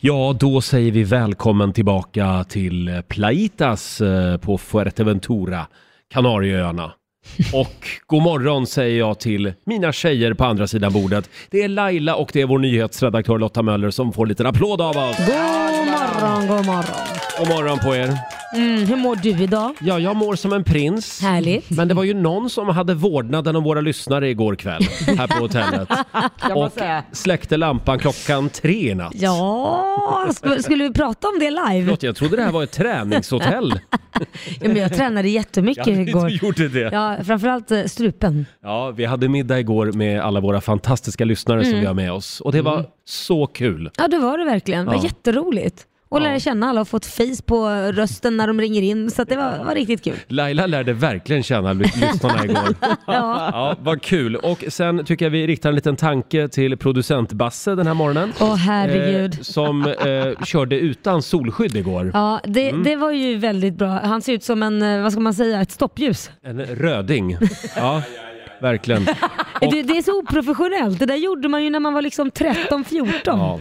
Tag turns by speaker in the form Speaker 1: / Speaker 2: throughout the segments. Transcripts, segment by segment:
Speaker 1: Ja, då säger vi välkommen tillbaka till eh, Plaitas eh, på Fuerteventura, Kanarieöarna. Och god morgon säger jag till mina tjejer på andra sidan bordet. Det är Laila och det är vår nyhetsredaktör Lotta Möller som får en liten applåd av oss.
Speaker 2: God morgon, god morgon.
Speaker 1: God morgon på er.
Speaker 2: Mm, hur mår du idag?
Speaker 1: Ja, jag mår som en prins.
Speaker 2: Härligt.
Speaker 1: Men det var ju någon som hade vårdnaden om våra lyssnare igår kväll här på hotellet. Och släckte lampan klockan tre i natt.
Speaker 2: Ja, sk- skulle vi prata om det live?
Speaker 1: Förlåt, jag trodde det här var ett träningshotell.
Speaker 2: Ja, men jag tränade jättemycket igår.
Speaker 1: du gjorde det.
Speaker 2: Ja, framförallt eh, strupen.
Speaker 1: Ja, vi hade middag igår med alla våra fantastiska lyssnare
Speaker 2: Mm.
Speaker 1: som vi har med oss. Och det var så kul.
Speaker 2: Ja, det var det verkligen. Det var
Speaker 1: Ja.
Speaker 2: jätteroligt. Och lära känna alla och fått face på rösten när de ringer in. Så att det var, var riktigt kul.
Speaker 1: Laila lärde verkligen känna ly- lyssnarna igår.
Speaker 2: Ja.
Speaker 1: Ja, vad kul. Och sen tycker jag vi riktar en liten tanke till producent Basse den här morgonen.
Speaker 2: Åh herregud.
Speaker 1: Eh, som eh, körde utan solskydd igår.
Speaker 2: Ja, det, det var ju väldigt bra. Han ser ut som en, eh, vad ska man säga, ett stoppljus.
Speaker 1: En röding. Ja, verkligen.
Speaker 2: Det, det är så oprofessionellt. Det där gjorde man ju när man var liksom 13-14.
Speaker 1: Ja.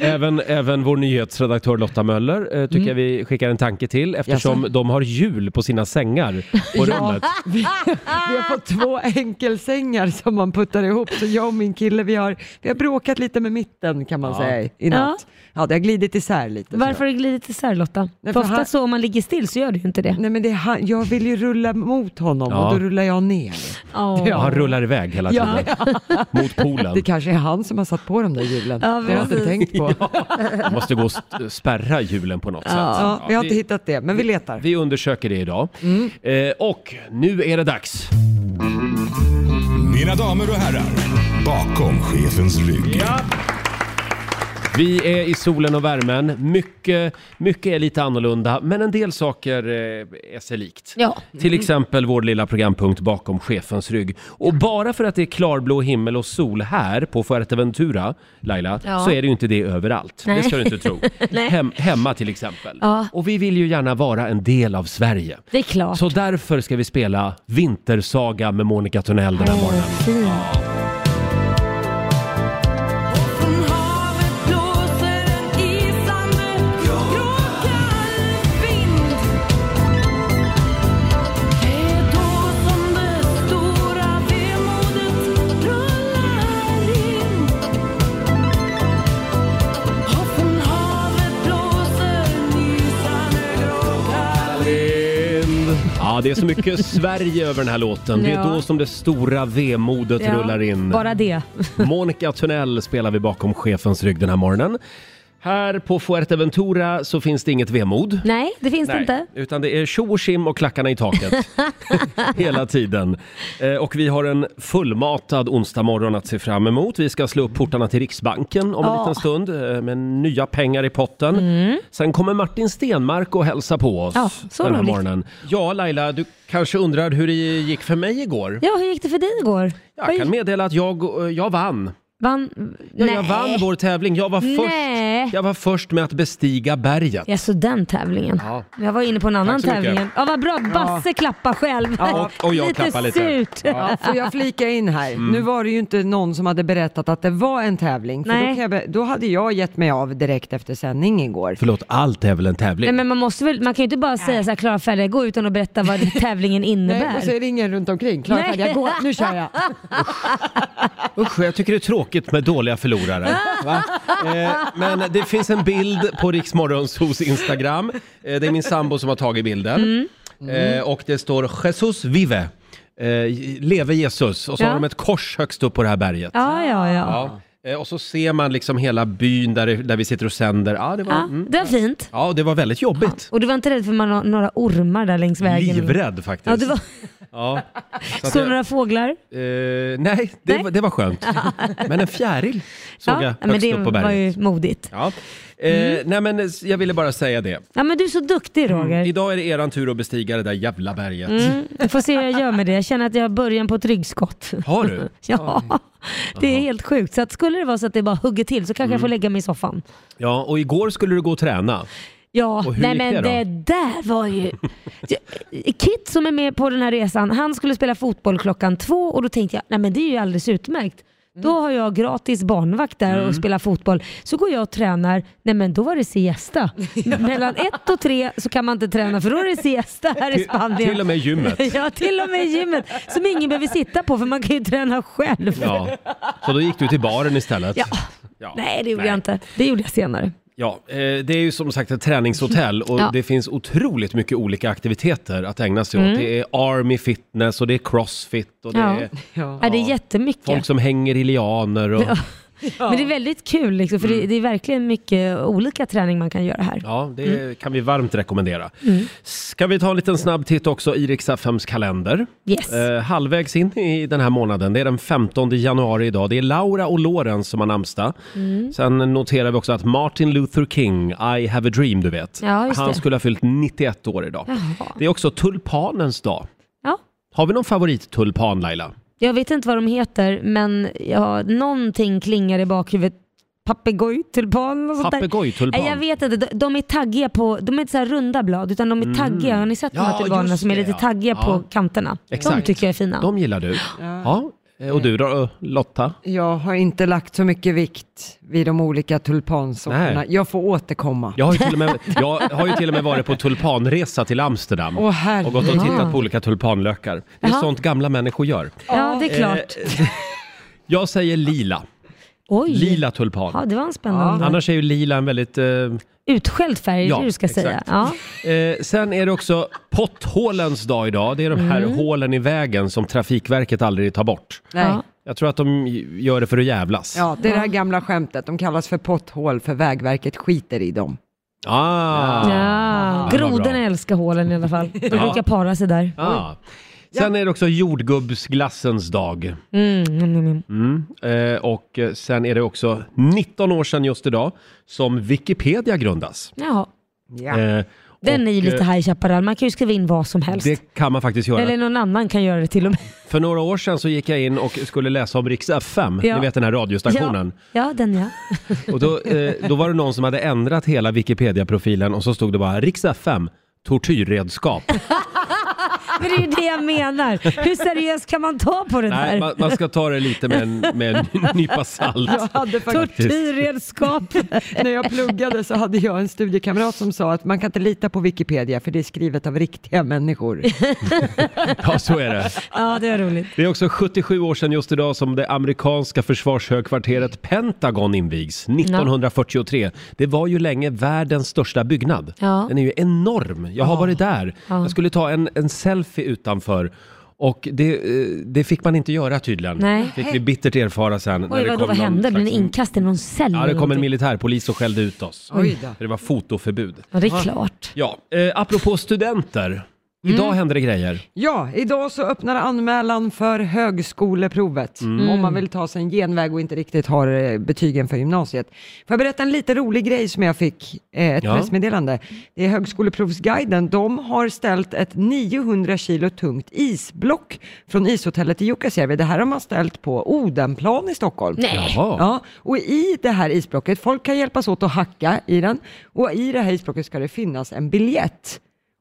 Speaker 1: Även, även vår nyhetsredaktör Lotta Möller eh, tycker
Speaker 2: Mm.
Speaker 1: jag vi skickar en tanke till eftersom de har hjul på sina sängar på rummet.
Speaker 3: Vi har fått två enkelsängar som man puttar ihop. Så jag och min kille, vi har, vi har bråkat lite med mitten kan man säga i natt. Ja, det har glidit isär lite. tror jag.
Speaker 2: Varför har det glidit isär Lotta?
Speaker 3: Nej,
Speaker 2: för
Speaker 3: för
Speaker 2: ofta
Speaker 3: han-
Speaker 2: så om man ligger still så gör det ju inte det.
Speaker 3: Nej, men det är han, jag vill ju rulla mot honom
Speaker 1: Ja.
Speaker 3: och då rullar jag ner.
Speaker 2: Åh.
Speaker 1: Ja, han rullar iväg hela tiden. Mot
Speaker 3: Det
Speaker 1: poolen.
Speaker 3: kanske är han som har satt på de där hjulen.
Speaker 2: Ja,
Speaker 3: det har jag inte
Speaker 2: precis.
Speaker 3: tänkt på. Ja.
Speaker 1: Man måste gå och st- spärra hjulen på något sätt.
Speaker 3: vi har inte
Speaker 1: vi,
Speaker 3: hittat det, Mm. men vi letar.
Speaker 1: vi undersöker det idag. Eh, och nu är det dags.
Speaker 4: Mina damer och herrar, bakom chefens rygg.
Speaker 1: Vi är i solen och värmen. Mycket, mycket är lite annorlunda, men en del saker eh, är sig likt.
Speaker 2: Ja.
Speaker 1: Till exempel vår lilla programpunkt bakom chefens rygg. Och bara för att det är klarblå himmel och sol här på Fuerteventura, Laila,
Speaker 2: Ja.
Speaker 1: så är det ju inte det överallt.
Speaker 2: Nej.
Speaker 1: Det ska du inte tro.
Speaker 2: Nej.
Speaker 1: Hem, hemma till exempel.
Speaker 2: Ja.
Speaker 1: Och vi vill ju gärna vara en del av Sverige.
Speaker 2: Det är klart.
Speaker 1: Så därför ska vi spela Vintersaga med Monica Tunnell den här morgonen. Ja, det är så mycket Sverige över den här låten. Det
Speaker 2: Ja.
Speaker 1: är då som det stora vemodet
Speaker 2: Ja,
Speaker 1: rullar in.
Speaker 2: Bara det.
Speaker 1: Monica Tunnell spelar vi bakom chefens rygg den här morgonen. Här på Fuerteventura så finns det inget vemod.
Speaker 2: Nej, det finns det inte.
Speaker 1: utan det är tjo och tjim och klackarna i taket hela tiden. Eh, och vi har en fullmatad onsdag morgon att se fram emot. Vi ska slå upp portarna till Riksbanken om en
Speaker 2: Ja. Mm.
Speaker 1: liten stund eh, med nya pengar i potten. Sen kommer Martin Stenmark och hälsa på oss
Speaker 2: Ja, så
Speaker 1: den här
Speaker 2: roligt.
Speaker 1: morgonen. Ja, Laila, du kanske undrar hur det gick för mig igår?
Speaker 2: Ja, hur gick det för dig igår?
Speaker 1: Jag
Speaker 2: Oj,
Speaker 1: kan meddela att jag, eh, jag vann.
Speaker 2: Vann?
Speaker 1: Ja,
Speaker 2: Nej.
Speaker 1: jag vann vår tävling. Jag var,
Speaker 2: Nej.
Speaker 1: först, jag var först med att bestiga berget.
Speaker 2: Ja, så den tävlingen.
Speaker 1: Ja.
Speaker 2: Jag var inne på en annan
Speaker 1: så mycket.
Speaker 2: tävling. Ja, vad bra. Basse klappar själv.
Speaker 1: Ja, och- och jag klappar lite.
Speaker 2: Surt.
Speaker 3: Ja, får jag flika in här?
Speaker 1: Mm.
Speaker 3: Nu var det ju inte någon som hade berättat att det var en tävling. För då,
Speaker 2: Nej.
Speaker 3: kan jag, be- då hade jag gett mig av direkt efter sändning igår.
Speaker 1: Förlåt, allt är väl en tävling?
Speaker 2: Nej, men man, måste väl, man kan ju inte bara säga så här, klara, färdiga, gå utan att berätta vad tävlingen innebär.
Speaker 3: Nej, och så är det ingen runt omkring. Klart
Speaker 2: Nej.
Speaker 3: hade jag gått, nu kör jag.
Speaker 1: Usch, jag tycker det är tråkigt med dåliga förlorare. Va? Eh, men det finns en bild på Riksmorgonsos Instagram. Eh, det är min sambo som har tagit bilden.
Speaker 2: Mm.
Speaker 1: Eh, och det står Jesus vive. Eh, leve Jesus. Och så
Speaker 2: Ja.
Speaker 1: har de ett kors högst upp på det här berget.
Speaker 2: Ja, ja, ja.
Speaker 1: Ja. Eh, och så ser man liksom hela byn där, där vi sitter och sänder. Ja, det var,
Speaker 2: Ja,
Speaker 1: mm.
Speaker 2: det var fint.
Speaker 1: ja, det var väldigt jobbigt.
Speaker 2: Och du var inte rädd för man har några ormar där längs vägen?
Speaker 1: Livrädd faktiskt.
Speaker 2: Ja, du var,
Speaker 1: Ja. Så att
Speaker 2: såg
Speaker 1: jag-
Speaker 2: några fåglar?
Speaker 1: eh, nej, det,
Speaker 2: Nej.
Speaker 1: Var, det var skönt. Men en fjäril såg jag
Speaker 2: ja,
Speaker 1: högst
Speaker 2: men det
Speaker 1: upp på
Speaker 2: var
Speaker 1: berget.
Speaker 2: ju modigt.
Speaker 1: Ja. Eh,
Speaker 2: Mm.
Speaker 1: Nej men eh, jag ville bara säga det.
Speaker 2: Ja, men du är så duktig Roger.
Speaker 1: Mm. Idag är det eran tur att bestiga det där jävla berget.
Speaker 2: Mm, jag får se hur jag gör med det. Jag känner att jag har början på ett ryggskott.
Speaker 1: Har du?
Speaker 2: Ja, det är helt sjukt. Så att skulle det vara så att det bara hugger till så kanske
Speaker 1: Mm.
Speaker 2: jag får lägga mig i soffan.
Speaker 1: Ja, och igår skulle du gå och träna.
Speaker 2: Ja,
Speaker 1: Och hur
Speaker 2: nej
Speaker 1: gick
Speaker 2: men
Speaker 1: det
Speaker 2: det,
Speaker 1: då?
Speaker 2: där var ju... Kit som är med på den här resan, han skulle spela fotboll klockan två och då tänkte jag, nej men det är ju alldeles utmärkt.
Speaker 1: Mm.
Speaker 2: Då har jag gratis barnvakt där och spelar fotboll. Så går jag och tränar, nej men då var det siesta. Mellan ett och tre så kan man inte träna för då är det siesta här i
Speaker 1: Till-
Speaker 2: Spanien.
Speaker 1: till och med i gymmet.
Speaker 2: Ja, till och med i gymmet. Som ingen behöver sitta på för man kan ju träna själv.
Speaker 1: Ja. Så då gick du till baren istället?
Speaker 2: Ja.
Speaker 1: Ja.
Speaker 2: Nej, det gjorde jag inte. Det gjorde jag senare.
Speaker 1: Ja, eh, det är ju som sagt ett träningshotell och
Speaker 2: Ja.
Speaker 1: det finns otroligt mycket olika aktiviteter att ägna sig åt. Det är army fitness och det är crossfit och det
Speaker 2: Mm. Ja.
Speaker 1: är
Speaker 3: Ja.
Speaker 2: Ja. Det är jättemycket.
Speaker 1: folk som hänger i lianer och... Ja, Mm.
Speaker 2: Men det är väldigt kul liksom, för det, det är verkligen mycket olika träning man kan göra här.
Speaker 1: det
Speaker 2: Mm.
Speaker 1: kan vi varmt rekommendera. Ska vi ta en liten snabb titt också i riks FMs kalender?
Speaker 2: Yes.
Speaker 1: Eh, halvvägs in i den här månaden, det är den 15 januari idag. Det är Laura och Lorenz som har namnsdag.
Speaker 2: Mm.
Speaker 1: Sen noterar vi också att Martin Luther King, I have a dream, du vet.
Speaker 2: Ja, just
Speaker 1: Han
Speaker 2: det.
Speaker 1: skulle ha fyllt 91 år idag.
Speaker 2: Jaha.
Speaker 1: Det är också tulpanens dag.
Speaker 2: Ja.
Speaker 1: Har vi någon favorittulpan Laila?
Speaker 2: Jag vet inte vad de heter, men ja, någonting klingar i bakhuvudet. Papegojtulpan och sånt där.
Speaker 1: Papegojtulpan?
Speaker 2: Nej, jag vet inte. De- De är taggiga på, de är inte så här runda blad, utan de är taggiga. Har ni sett de
Speaker 1: Mm. Ja,
Speaker 2: här tulpanerna
Speaker 1: just
Speaker 2: som är
Speaker 1: det,
Speaker 2: lite
Speaker 1: ja.
Speaker 2: taggiga
Speaker 1: Ja.
Speaker 2: på kanterna? De
Speaker 1: Exakt.
Speaker 2: tycker jag är fina.
Speaker 1: De gillar du. Ja. Eh, Och du då Lotta?
Speaker 3: Jag har inte lagt så mycket vikt vid de olika tulpansorterna.
Speaker 1: Nej.
Speaker 3: Jag får återkomma.
Speaker 1: Jag har ju till och med, jag har ju till och med varit på tulpanresa till Amsterdam.
Speaker 3: Åh, herregud.
Speaker 1: och gått och tittat på olika tulpanlökar. Det är
Speaker 2: Jaha.
Speaker 1: sånt gamla människor gör.
Speaker 2: Ja, det är
Speaker 1: Eh,
Speaker 2: klart.
Speaker 1: Jag säger lila.
Speaker 2: Oj.
Speaker 1: Lila tulpan.
Speaker 2: Ja, det var en spännande.
Speaker 1: Annars är ju lila en väldigt... Eh,
Speaker 2: Utskälld färg,
Speaker 1: Ja,
Speaker 2: det är det du ska
Speaker 1: exakt.
Speaker 2: säga. Ja.
Speaker 1: eh, sen är det också potthålens dag idag. Det är de
Speaker 2: Mm.
Speaker 1: här hålen i vägen som Trafikverket aldrig tar bort.
Speaker 3: Nej.
Speaker 2: Ja.
Speaker 1: Jag tror att de gör det för att jävlas.
Speaker 3: Ja, det är det här gamla skämtet. De kallas för potthål för Vägverket skiter i dem.
Speaker 1: Ah.
Speaker 2: Ja.
Speaker 1: det var bra.
Speaker 2: Grodorna älskar hålen i alla fall. De brukar para sig där.
Speaker 1: Ah. Sen är det också jordgubbsglassens dag.
Speaker 2: Mm, mm, mm, mm.
Speaker 1: Mm. Eh, och eh, sen är det också 19 år sedan just idag som Wikipedia grundas.
Speaker 2: Jaha.
Speaker 3: Ja.
Speaker 1: Eh,
Speaker 2: Den
Speaker 1: och,
Speaker 2: är ju lite
Speaker 1: eh,
Speaker 2: High Chaparral. Man kan ju skriva in vad som helst.
Speaker 1: Det kan man faktiskt göra.
Speaker 2: Eller någon annan kan göra det till och med.
Speaker 1: För några år sedan så gick jag in och skulle läsa om Rix FM,
Speaker 2: Ja.
Speaker 1: ni vet den här
Speaker 2: Ja,
Speaker 1: radiostationen.
Speaker 2: ja den ja.
Speaker 1: Och då, eh, då var det någon som hade ändrat hela Wikipedia-profilen och så stod det bara Rix FM, tortyrredskap.
Speaker 2: Men det är ju det jag menar. Hur seriöst kan man ta på det
Speaker 1: Nej,
Speaker 2: där?
Speaker 1: man, man ska ta det lite med en, med en nypa salt.
Speaker 3: Jag hade faktiskt,
Speaker 2: Tortyrredskap.
Speaker 3: när jag pluggade så hade jag en studiekamrat som sa att man kan inte lita på Wikipedia för det är skrivet av riktiga människor.
Speaker 1: Ja, så är det.
Speaker 2: ja, det var roligt.
Speaker 1: Det är också 77 år sedan just idag som det amerikanska försvarshögkvarteret Pentagon invigs 1943. Det var ju länge världens största byggnad.
Speaker 2: Ja.
Speaker 1: Den är ju enorm. Jag har varit där.
Speaker 2: Ja.
Speaker 1: Jag skulle ta en, en selfie utanför. Och det, eh, det fick man inte göra tydligen.
Speaker 2: Nej.
Speaker 1: Fick vi bittert erfara sen. när
Speaker 2: Oj,
Speaker 1: det
Speaker 2: vadå,
Speaker 1: kom
Speaker 2: vad
Speaker 1: någon
Speaker 2: hände? Blev
Speaker 1: slags-
Speaker 2: ni inkastade i någon cell?
Speaker 1: Ja, det
Speaker 2: eller
Speaker 1: kom en
Speaker 2: någonting?
Speaker 1: militärpolis och skällde ut oss.
Speaker 3: Oj då.
Speaker 1: För Det var fotoförbud.
Speaker 2: Ja, det är klart.
Speaker 1: Ja, eh, apropå studenter.
Speaker 2: Mm.
Speaker 1: Idag händer det grejer.
Speaker 3: Ja, idag så öppnar anmälan för högskoleprovet om man vill ta sig en genväg och inte riktigt har eh, betygen för gymnasiet. Får jag berätta en lite rolig grej som jag fick, eh, ett
Speaker 1: Ja.
Speaker 3: pressmeddelande. Det är Högskoleprovsguiden, de har ställt ett 900 kilo tungt isblock från ishotellet i Jukkasjärvi. Det här har man ställt på Odenplan i Stockholm.
Speaker 2: Nej.
Speaker 1: Jaha.
Speaker 3: Ja, och i det här isblocket, folk kan hjälpas åt att hacka i den, och i det här isblocket ska det finnas en biljett.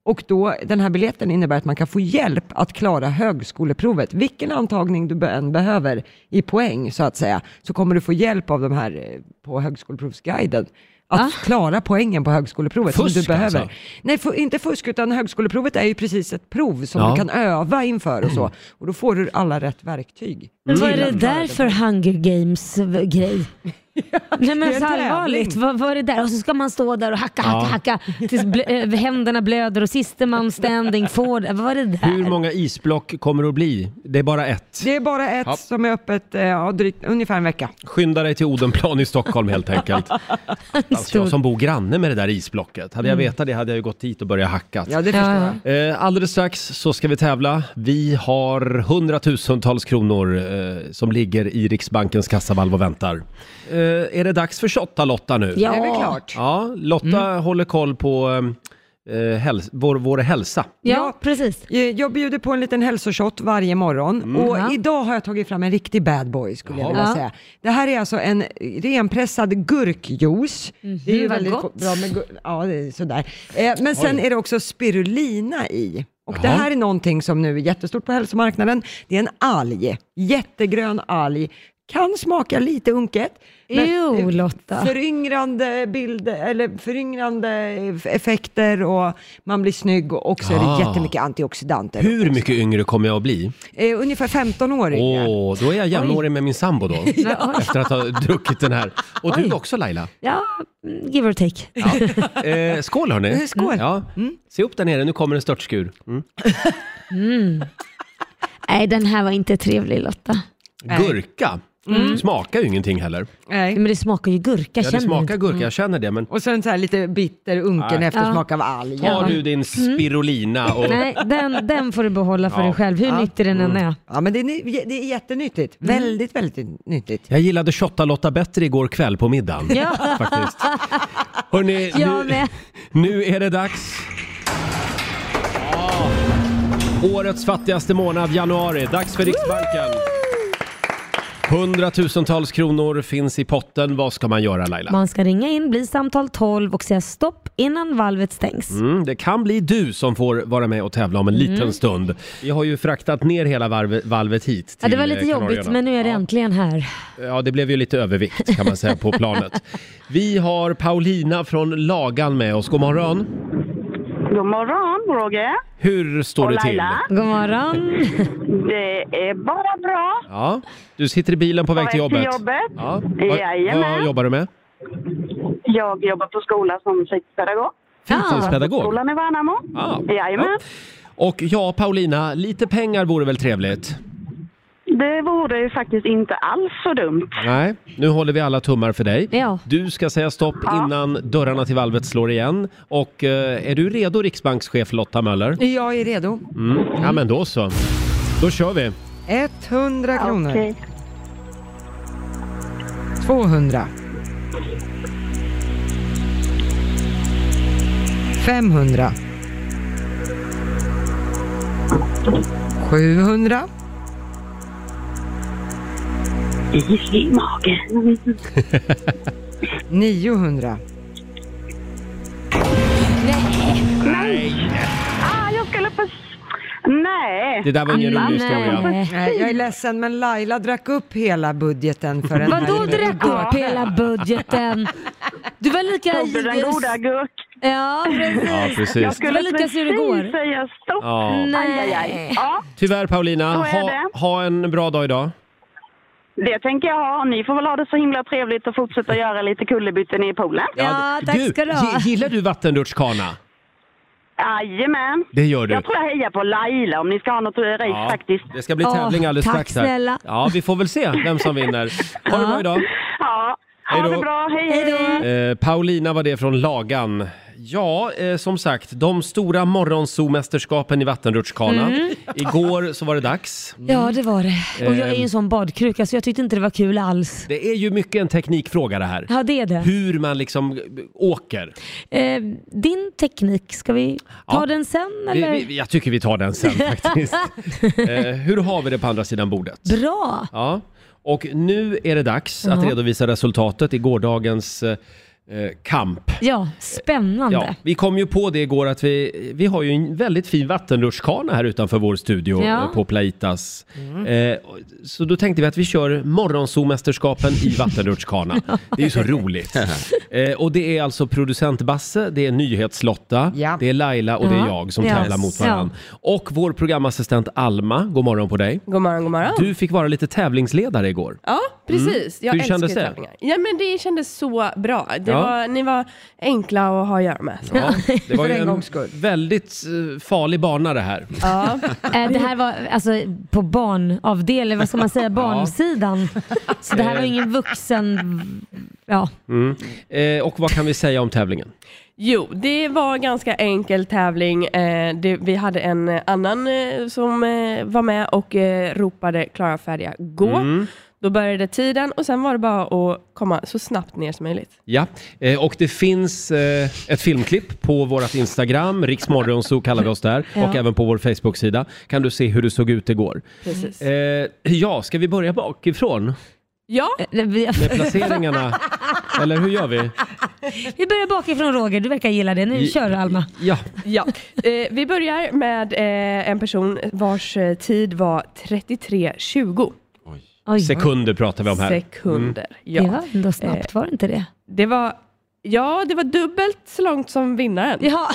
Speaker 3: Och då, den här biljetten innebär att man kan få hjälp att klara högskoleprovet, vilken antagning du be- än behöver i poäng så att säga, så kommer du få hjälp av de här eh, på högskoleprovsguiden att klara poängen på högskoleprovet som du
Speaker 1: Ah. Fusk,
Speaker 3: behöver.
Speaker 1: alltså?
Speaker 3: Nej, fu- inte fusk, utan högskoleprovet är ju precis ett prov som
Speaker 1: Ja.
Speaker 3: du kan öva inför och så. Och då får du alla rätt verktyg.
Speaker 2: Men vad är
Speaker 3: till
Speaker 2: det
Speaker 3: att klara
Speaker 2: där för Hunger Games-grej? Nej men
Speaker 3: det är en
Speaker 2: så allvarligt,
Speaker 3: tävling.
Speaker 2: vad, vad är det där? Och så ska man stå där och hacka, hacka,
Speaker 1: Ja.
Speaker 2: hacka tills blö- eh, händerna blöder och siste man standing får det. Vad är det
Speaker 1: Hur
Speaker 2: där?
Speaker 1: många isblock kommer det att bli? Det är bara ett.
Speaker 3: Det är bara ett
Speaker 1: Ja.
Speaker 3: som är öppet eh, ja, drygt, ungefär en vecka.
Speaker 1: Skynda dig till Odenplan i Stockholm helt enkelt. Alltså, jag som bor granne med det där isblocket. Hade jag vetat det hade jag ju gått dit och börjat hacka.
Speaker 3: Ja, det förstår
Speaker 2: Ja.
Speaker 3: jag.
Speaker 1: Eh, alldeles strax så ska vi tävla. Vi har hundratusentals kronor eh, som ligger i Riksbankens kassavalv och väntar. Eh, är det dags för Shotta-Lotta nu?
Speaker 3: Det är väl
Speaker 2: Ja,
Speaker 3: klart.
Speaker 1: Ja, Lotta håller koll på eh, häls- vår, vår hälsa.
Speaker 2: ja precis.
Speaker 3: Eh, Jag bjuder på en liten hälsoshot varje morgon och
Speaker 2: Mm. Ja.
Speaker 3: idag har jag tagit fram en riktig bad boy skulle jag
Speaker 1: Jaha.
Speaker 3: vilja
Speaker 2: Ja.
Speaker 3: säga. Det här är alltså en renpressad gurkjuice. Det är ju
Speaker 2: Mhm. vad
Speaker 3: väldigt
Speaker 2: gott.
Speaker 3: bra med gur- ja, det är sådär. Eh, Men sen är det också spirulina i. Och det
Speaker 1: Jaha.
Speaker 3: här är någonting som nu är jättestort på hälsomarknaden. Det är en alg, jättegrön alg Kan smaka lite unket. men- eh,
Speaker 2: Jo, Lotta.
Speaker 3: Föryngrande bild, eller föryngrande effekter och man blir snygg och också är
Speaker 1: Ah.
Speaker 3: det jättemycket antioxidanter.
Speaker 1: Hur mycket yngre kommer jag att bli?
Speaker 3: Eh, ungefär 15 år
Speaker 1: Åh,
Speaker 3: yngre.
Speaker 1: då är jag jämnårig med min sambo då.
Speaker 2: Ja, oj.
Speaker 1: Efter att ha druckit den här. Och du
Speaker 2: Oj.
Speaker 1: också Laila.
Speaker 2: Ja, mm, give or take.
Speaker 1: Eh, skål hörni.
Speaker 3: Skål.
Speaker 1: Ja.
Speaker 2: Mm.
Speaker 1: Se upp där nere, nu kommer en störtskur. Mm.
Speaker 2: Nej, den här var inte trevlig Lotta.
Speaker 1: Gurka. Smakar ju ingenting heller.
Speaker 3: Nej.
Speaker 2: Men det smakar ju gurka,
Speaker 1: Ja, det
Speaker 2: Mm. känner Mm. du?
Speaker 1: smakar gurka, jag känner det. Men
Speaker 3: Och sen så här lite bitter unken
Speaker 1: Nej.
Speaker 3: eftersmak av alg.
Speaker 1: tar du din spirulina och...
Speaker 2: Mm. Nej, den, den får du behålla för
Speaker 1: Ja.
Speaker 2: dig själv, hur nyttig den än är.
Speaker 3: Ja men det är, ny- det är jättenyttigt.
Speaker 1: Mm.
Speaker 3: Väldigt, väldigt nyttigt.
Speaker 1: Jag gillade Shotta-Lotta bättre igår kväll på middagen.
Speaker 2: Ja.
Speaker 1: Faktiskt. Hörrni,
Speaker 2: Jag
Speaker 1: nu,
Speaker 2: med.
Speaker 1: nu är det dags. Årets fattigaste månad, januari. Dags för Riksbanken. Hundratusentals kronor finns i potten. Vad ska man göra Laila?
Speaker 2: Man ska ringa in, bli samtal 12 och säga stopp innan valvet stängs.
Speaker 1: Mm, det kan bli du som får vara med och tävla om en
Speaker 2: Mm.
Speaker 1: liten stund. Vi har ju fraktat ner hela varve, valvet hit. Till
Speaker 2: Ja, det var lite
Speaker 1: eh,
Speaker 2: jobbigt,
Speaker 1: Kanarieöarna.
Speaker 2: men nu är det äntligen här.
Speaker 1: Ja, det blev ju lite övervikt kan man säga på planet. Vi har Paulina från Lagan med oss. God morgon.
Speaker 5: God morgon, Roger.
Speaker 1: Hur står
Speaker 5: Och
Speaker 1: det till?
Speaker 5: Laila.
Speaker 2: God morgon.
Speaker 5: Det är bara bra.
Speaker 1: Ja, du sitter i bilen på väg till
Speaker 5: På väg
Speaker 1: jobbet.
Speaker 5: till jobbet.
Speaker 1: Ja. Vad,
Speaker 5: Jajamän.
Speaker 1: vad jobbar du med?
Speaker 5: Jag jobbar på skola som fritidspedagog.
Speaker 1: Fritidspedagog.
Speaker 5: Skolan i Värnamo.
Speaker 1: Ah,
Speaker 5: Jajamän.
Speaker 1: Och ja, Paulina, lite pengar vore väl trevligt?
Speaker 5: Det vore ju faktiskt inte alls så dumt.
Speaker 1: Nej, nu håller vi alla tummar för dig.
Speaker 2: Ja.
Speaker 1: Du ska säga stopp innan dörrarna till valvet slår igen. Och eh, är du redo, riksbankschef Lotta Möller?
Speaker 3: Jag är redo.
Speaker 1: Mm. Ja, men då så. Då kör vi.
Speaker 3: 100 kronor.
Speaker 5: Okej.
Speaker 3: 200. 500. 700.
Speaker 5: I magen.
Speaker 3: 900.
Speaker 5: Ah, jag skulle på... Nej.
Speaker 1: Det där var ingen rolig historia.
Speaker 2: Nej.
Speaker 3: Nej, jag är ledsen men Laila drack upp hela budgeten för den här
Speaker 2: Vadå
Speaker 3: lilla-
Speaker 2: drack upp hela budgeten? Du var lika...
Speaker 5: Tog du den goda gurk.
Speaker 2: Ja, precis.
Speaker 1: Ja,
Speaker 5: Jag
Speaker 1: precis.
Speaker 5: skulle
Speaker 2: Det var lika så det går.
Speaker 5: precis säga stopp.
Speaker 1: Ja.
Speaker 5: Aj, aj, aj.
Speaker 2: Nej.
Speaker 5: Ja,
Speaker 1: Tyvärr Paulina,
Speaker 5: Så är
Speaker 1: ha,
Speaker 5: det.
Speaker 1: ha en bra dag idag.
Speaker 5: det tänker jag ha. Ni får väl ha det så himla trevligt och fortsätta göra lite kullerbyten i poolen.
Speaker 2: Ja, tack ska du ha.
Speaker 1: gi- Gillar du vattenrutschkana?
Speaker 5: Jajamän.
Speaker 1: Det gör du.
Speaker 5: Jag tror jag hejar på Laila om ni ska ha något eh, race
Speaker 1: Ja,
Speaker 5: faktiskt.
Speaker 1: Det ska bli
Speaker 2: Åh,
Speaker 1: tävling alldeles
Speaker 2: tack
Speaker 1: strax här.
Speaker 2: snälla.
Speaker 1: Ja, vi får väl se vem som vinner. Ha det bra idag.
Speaker 5: Ja, ha
Speaker 1: Hej då.
Speaker 5: det bra. Hej,
Speaker 2: Hej då.
Speaker 5: hej.
Speaker 1: Eh, Paulina var det från Lagan. Ja, eh, som sagt, de stora morgonzoo-mästerskapen i vattenrutschkana.
Speaker 2: Mm.
Speaker 1: Igår så var det dags.
Speaker 2: Ja, det var det. Och jag är
Speaker 1: Eh,
Speaker 2: ju en sån badkruka så jag tyckte inte det var kul alls.
Speaker 1: Det är ju mycket en teknikfråga det här.
Speaker 2: Ja, det är det.
Speaker 1: Hur man liksom eh, åker.
Speaker 2: Eh, din teknik, ska vi ta
Speaker 1: Ja.
Speaker 2: den sen
Speaker 1: Vi,
Speaker 2: eller?
Speaker 1: vi, jag tycker vi tar den sen faktiskt. eh, hur har vi det på andra sidan bordet?
Speaker 2: Bra!
Speaker 1: Ja, och nu är det dags att
Speaker 2: Ja.
Speaker 1: redovisa resultatet i gårdagens eh, eh, kamp.
Speaker 2: Ja, spännande.
Speaker 1: Ja, vi kom ju på det igår att vi, vi har ju en väldigt fin vattenrutschkana här utanför vår studio
Speaker 2: Ja.
Speaker 1: eh, på Plaitas. Eh, så då tänkte vi att vi kör morgonzoo-mästerskapen i vattenrutschkana. Det är ju så roligt. Eh, och det är alltså producent Basse, det är nyhetslotta,
Speaker 3: Ja.
Speaker 1: det är Laila och det är
Speaker 2: Ja.
Speaker 1: jag som
Speaker 2: Yes.
Speaker 1: tävlar mot varandra. Och vår programassistent Alma, god morgon på dig.
Speaker 6: God morgon, god morgon.
Speaker 1: Du fick vara lite tävlingsledare igår.
Speaker 6: Ja, precis. Jag
Speaker 1: Hur
Speaker 6: älskar
Speaker 1: kändes
Speaker 6: ju
Speaker 1: det?
Speaker 6: tävlingar. Ja, men det kändes så bra. Det
Speaker 1: Ja.
Speaker 6: var, ni var enkla att ha att göra med.
Speaker 1: Ja, det var
Speaker 3: För
Speaker 1: ju
Speaker 3: en
Speaker 1: en
Speaker 3: gångs skull.
Speaker 1: väldigt eh, farlig bana det här.
Speaker 6: Ja.
Speaker 2: Eh, det här var alltså på barnavdelningen, vad ska man säga, barnsidan. Så det här var ingen vuxen... Ja.
Speaker 1: Eh, och vad kan vi säga om tävlingen?
Speaker 6: Jo, det var en ganska enkel tävling. Eh, det, vi hade en eh, annan eh, som eh, var med och eh, ropade klara, färdiga, gå.
Speaker 1: Mm.
Speaker 6: Då började tiden och sen var det bara att komma så snabbt ner som möjligt.
Speaker 1: Ja, eh, och det finns eh, ett filmklipp på vårt Instagram, Riksmorgon så kallar vi oss där,
Speaker 2: Ja.
Speaker 1: och även på vår Facebook-sida kan du se hur det såg ut igår.
Speaker 6: Precis.
Speaker 1: Eh, ja, ska vi börja bakifrån
Speaker 6: Ja,
Speaker 2: Eh, Vi
Speaker 1: med placeringarna? Eller hur gör vi?
Speaker 2: vi börjar bakifrån Roger, du verkar gilla det. Nu
Speaker 1: I-
Speaker 2: kör Alma.
Speaker 1: Ja,
Speaker 6: ja. Eh, vi börjar med eh, en person vars eh, tid var 33.20.
Speaker 2: Oj,
Speaker 1: Sekunder pratar vi om här. Mm.
Speaker 6: sekunder. Ja.
Speaker 2: Det var ändå snabbt, var det inte det?
Speaker 6: Det var, ja, det var dubbelt så långt som vinnaren.
Speaker 2: Ja,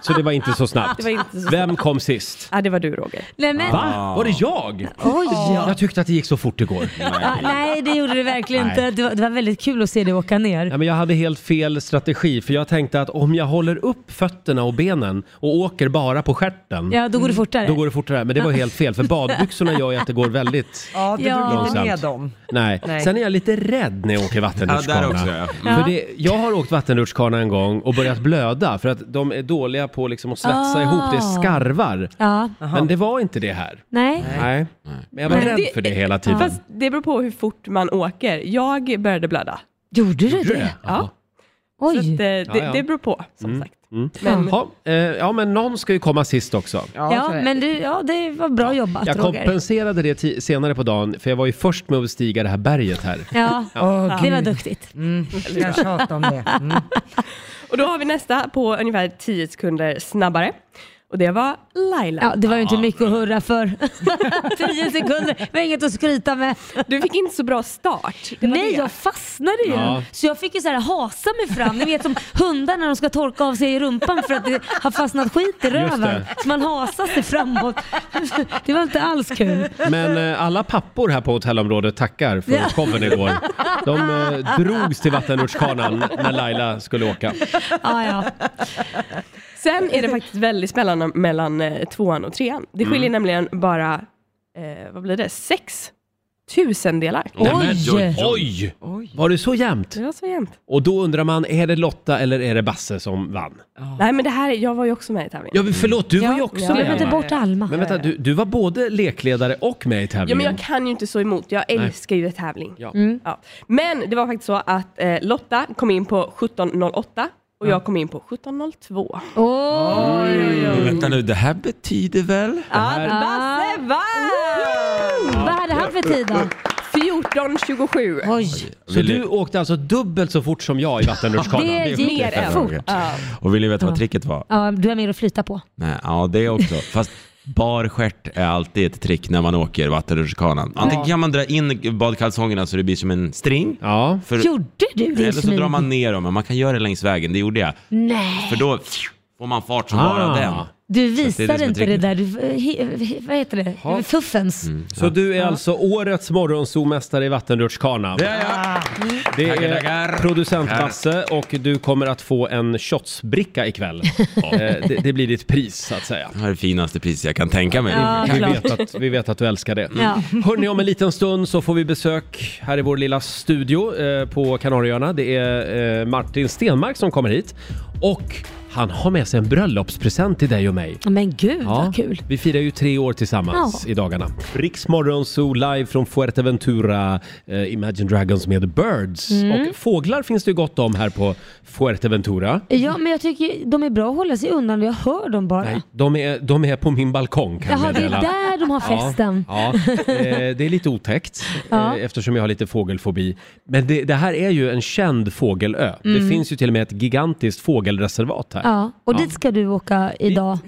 Speaker 1: Så det var inte så snabbt.
Speaker 6: Det var inte så Ah.
Speaker 1: Vem kom sist?
Speaker 6: Ja, det var du Roger.
Speaker 2: nej men.
Speaker 1: Va? Var det jag?
Speaker 2: Oj!
Speaker 1: Jag tyckte att det gick så fort igår.
Speaker 2: Ja, nej, det gjorde det verkligen inte. Det var, det var väldigt kul att se dig åka ner.
Speaker 1: Ja, men jag hade helt fel strategi för jag tänkte att om jag håller upp fötterna och benen och åker bara på stjärten
Speaker 2: Ja, då går det fortare.
Speaker 1: Mm. Då går det fortare, men det var helt fel för badbyxorna gör ju att det går väldigt...
Speaker 3: Ja, du
Speaker 2: Ja.
Speaker 3: drog inte med
Speaker 1: Långsamt.
Speaker 3: dem.
Speaker 1: Nej.
Speaker 3: Nej.
Speaker 1: Sen är jag lite rädd när jag åker
Speaker 7: Ja,
Speaker 1: vattenrutschkana.
Speaker 7: där också ja. Mm.
Speaker 1: För det, jag har åkt vattenrutschkana en gång och börjat blöda för att de är dåliga på liksom att svetsa
Speaker 2: Ah.
Speaker 1: ihop, det är skarvar.
Speaker 2: Ja,
Speaker 1: Men det var inte det här.
Speaker 2: nej.
Speaker 1: Nej. Men jag var
Speaker 6: Men
Speaker 1: rädd
Speaker 6: det-
Speaker 1: för det hela tiden.
Speaker 6: Fast det beror på hur fort man åker. Jag började blöda.
Speaker 2: Gjorde du
Speaker 1: Gjorde du
Speaker 2: det?
Speaker 1: Ja.
Speaker 6: Så att, eh,
Speaker 2: Oj!
Speaker 6: det,
Speaker 1: Ja, Mm. ja.
Speaker 6: det beror på, som sagt. Men,
Speaker 1: Ja, eh, ja, men någon ska ju komma sist också.
Speaker 2: Ja,
Speaker 3: så är det.
Speaker 2: men du, ja, det var bra jobbat
Speaker 1: Jag
Speaker 2: Roger.
Speaker 1: kompenserade det ti- senare på dagen, för jag var ju först med att stiga det här berget här.
Speaker 2: Ja,
Speaker 3: Åh,
Speaker 2: det var duktigt.
Speaker 3: mm, jag tjatar om det. Mm.
Speaker 6: och då har vi nästa på ungefär 10 sekunder snabbare. Och det var Laila.
Speaker 2: Ja, det var ju inte mycket att hurra för. Tio sekunder, det var inget att skryta med.
Speaker 6: Du fick inte så bra start. Det var
Speaker 2: Nej,
Speaker 6: det.
Speaker 2: jag fastnade ju.
Speaker 1: Ja.
Speaker 2: Så jag fick ju så här hasa mig fram. Ni vet som hundar när de ska torka av sig i rumpan för att det har fastnat skit i röven.
Speaker 1: det.
Speaker 2: Så man hasar sig framåt. Det var inte alls kul.
Speaker 1: Men eh, alla pappor här på hotellområdet tackar för
Speaker 2: Ja.
Speaker 1: showen igår. De eh, drogs till vattenrutschkanan när Laila skulle åka.
Speaker 2: Ah, ja.
Speaker 6: Sen är det faktiskt väldigt spännande mellan eh, tvåan och trean. Det skiljer
Speaker 1: Mm.
Speaker 6: nämligen bara, eh, vad blir det, sex tusendelar.
Speaker 7: Nej, men,
Speaker 2: Oj.
Speaker 7: oj, oj.
Speaker 1: Oj! Var det så jämnt?
Speaker 6: Det var så jämnt.
Speaker 1: Och då undrar man, är det Lotta eller är det Basse som vann?
Speaker 6: Nej men det här, jag var ju också med i tävlingen.
Speaker 1: Ja, men förlåt, du var ju också
Speaker 6: ja,
Speaker 2: Glöm
Speaker 1: med.
Speaker 2: inte
Speaker 1: va?
Speaker 2: bort Alma.
Speaker 1: Men vänta, du, du var både lekledare och med i
Speaker 6: Ja, men
Speaker 1: tävlingen.
Speaker 6: jag kan ju inte stå emot. Jag älskar ju tävling.
Speaker 1: Ja.
Speaker 2: Mm.
Speaker 6: Ja. Men det var faktiskt så att eh, Lotta kom in på 17.08 och jag kom in på 17.02.
Speaker 2: Åh,
Speaker 7: Men Vänta nu, det här betyder väl?
Speaker 6: Ja,
Speaker 2: Basse
Speaker 6: Basse vann!
Speaker 2: Vad hade han för tid då?
Speaker 6: 14.27.
Speaker 2: Oj.
Speaker 1: Så du åkte alltså dubbelt så fort som jag i vattenrutschkanan?
Speaker 2: Det gick
Speaker 6: mer än.
Speaker 2: fort.
Speaker 6: Ja.
Speaker 7: Och vill ni veta vad tricket var?
Speaker 2: Ja, du är mer att flyta på.
Speaker 7: Nej, ja, det också. Fast bar stjärt är alltid ett trick när man åker vattenrutschkanan. Antingen kan man dra in badkalsongerna så det blir som en string.
Speaker 1: Ja.
Speaker 7: För,
Speaker 2: Gjorde du det i
Speaker 7: eller så
Speaker 2: smyg?
Speaker 7: drar man ner dem, men man kan göra det längs vägen. Det gjorde jag.
Speaker 2: Nej,
Speaker 7: För då får man fart som
Speaker 1: Ah.
Speaker 7: bara den.
Speaker 2: du
Speaker 7: Så det är det
Speaker 2: visade
Speaker 7: som är
Speaker 2: inte det
Speaker 7: tricket.
Speaker 2: där. Du, eh, he, he, vad heter det?
Speaker 1: Ha.
Speaker 2: Fuffens.
Speaker 1: Så du är alltså årets morgonzoo-mästare i vattenrutschkana.
Speaker 7: Ja, ja.
Speaker 1: Det
Speaker 7: Tackar,
Speaker 1: är
Speaker 7: tackar.
Speaker 1: producent Basse och du kommer att få en shotsbricka ikväll. Eh, det, det blir ditt pris så att säga.
Speaker 7: Det här är det finaste priset jag kan tänka mig.
Speaker 2: Ja,
Speaker 1: Vi
Speaker 2: klart.
Speaker 1: vet, att, vi vet att du älskar det.
Speaker 2: Ja.
Speaker 1: Hörni, om en liten stund så får vi besök här i vår lilla studio eh, på Kanarieöarna. Det är eh, Martin Stenmark som kommer hit och han har med sig en bröllopspresent till dig och mig.
Speaker 2: Men gud vad kul.
Speaker 1: Vi firar ju tre år tillsammans
Speaker 2: Ja.
Speaker 1: i dagarna. Riksmorgon Zoo live från Fuerteventura, eh, Imagine Dragons med Birds.
Speaker 2: Mm.
Speaker 1: Och fåglar finns det ju gott om här på Fuerteventura.
Speaker 2: Ja, men jag tycker ju- de är bra att hålla sig undan. Jag hör dem bara.
Speaker 1: Nej, de är, de är på min balkong kan jag
Speaker 2: Jaha, det är
Speaker 1: meddela.
Speaker 2: där de har festen.
Speaker 1: Ja, ja. Eh, det är lite otäckt
Speaker 2: Ja.
Speaker 1: eh, eftersom jag har lite fågelfobi. Men det, det här är ju en känd fågelö. Det finns ju till och med ett gigantiskt fågelreservat här.
Speaker 2: Mm. Ja, och dit ska du åka idag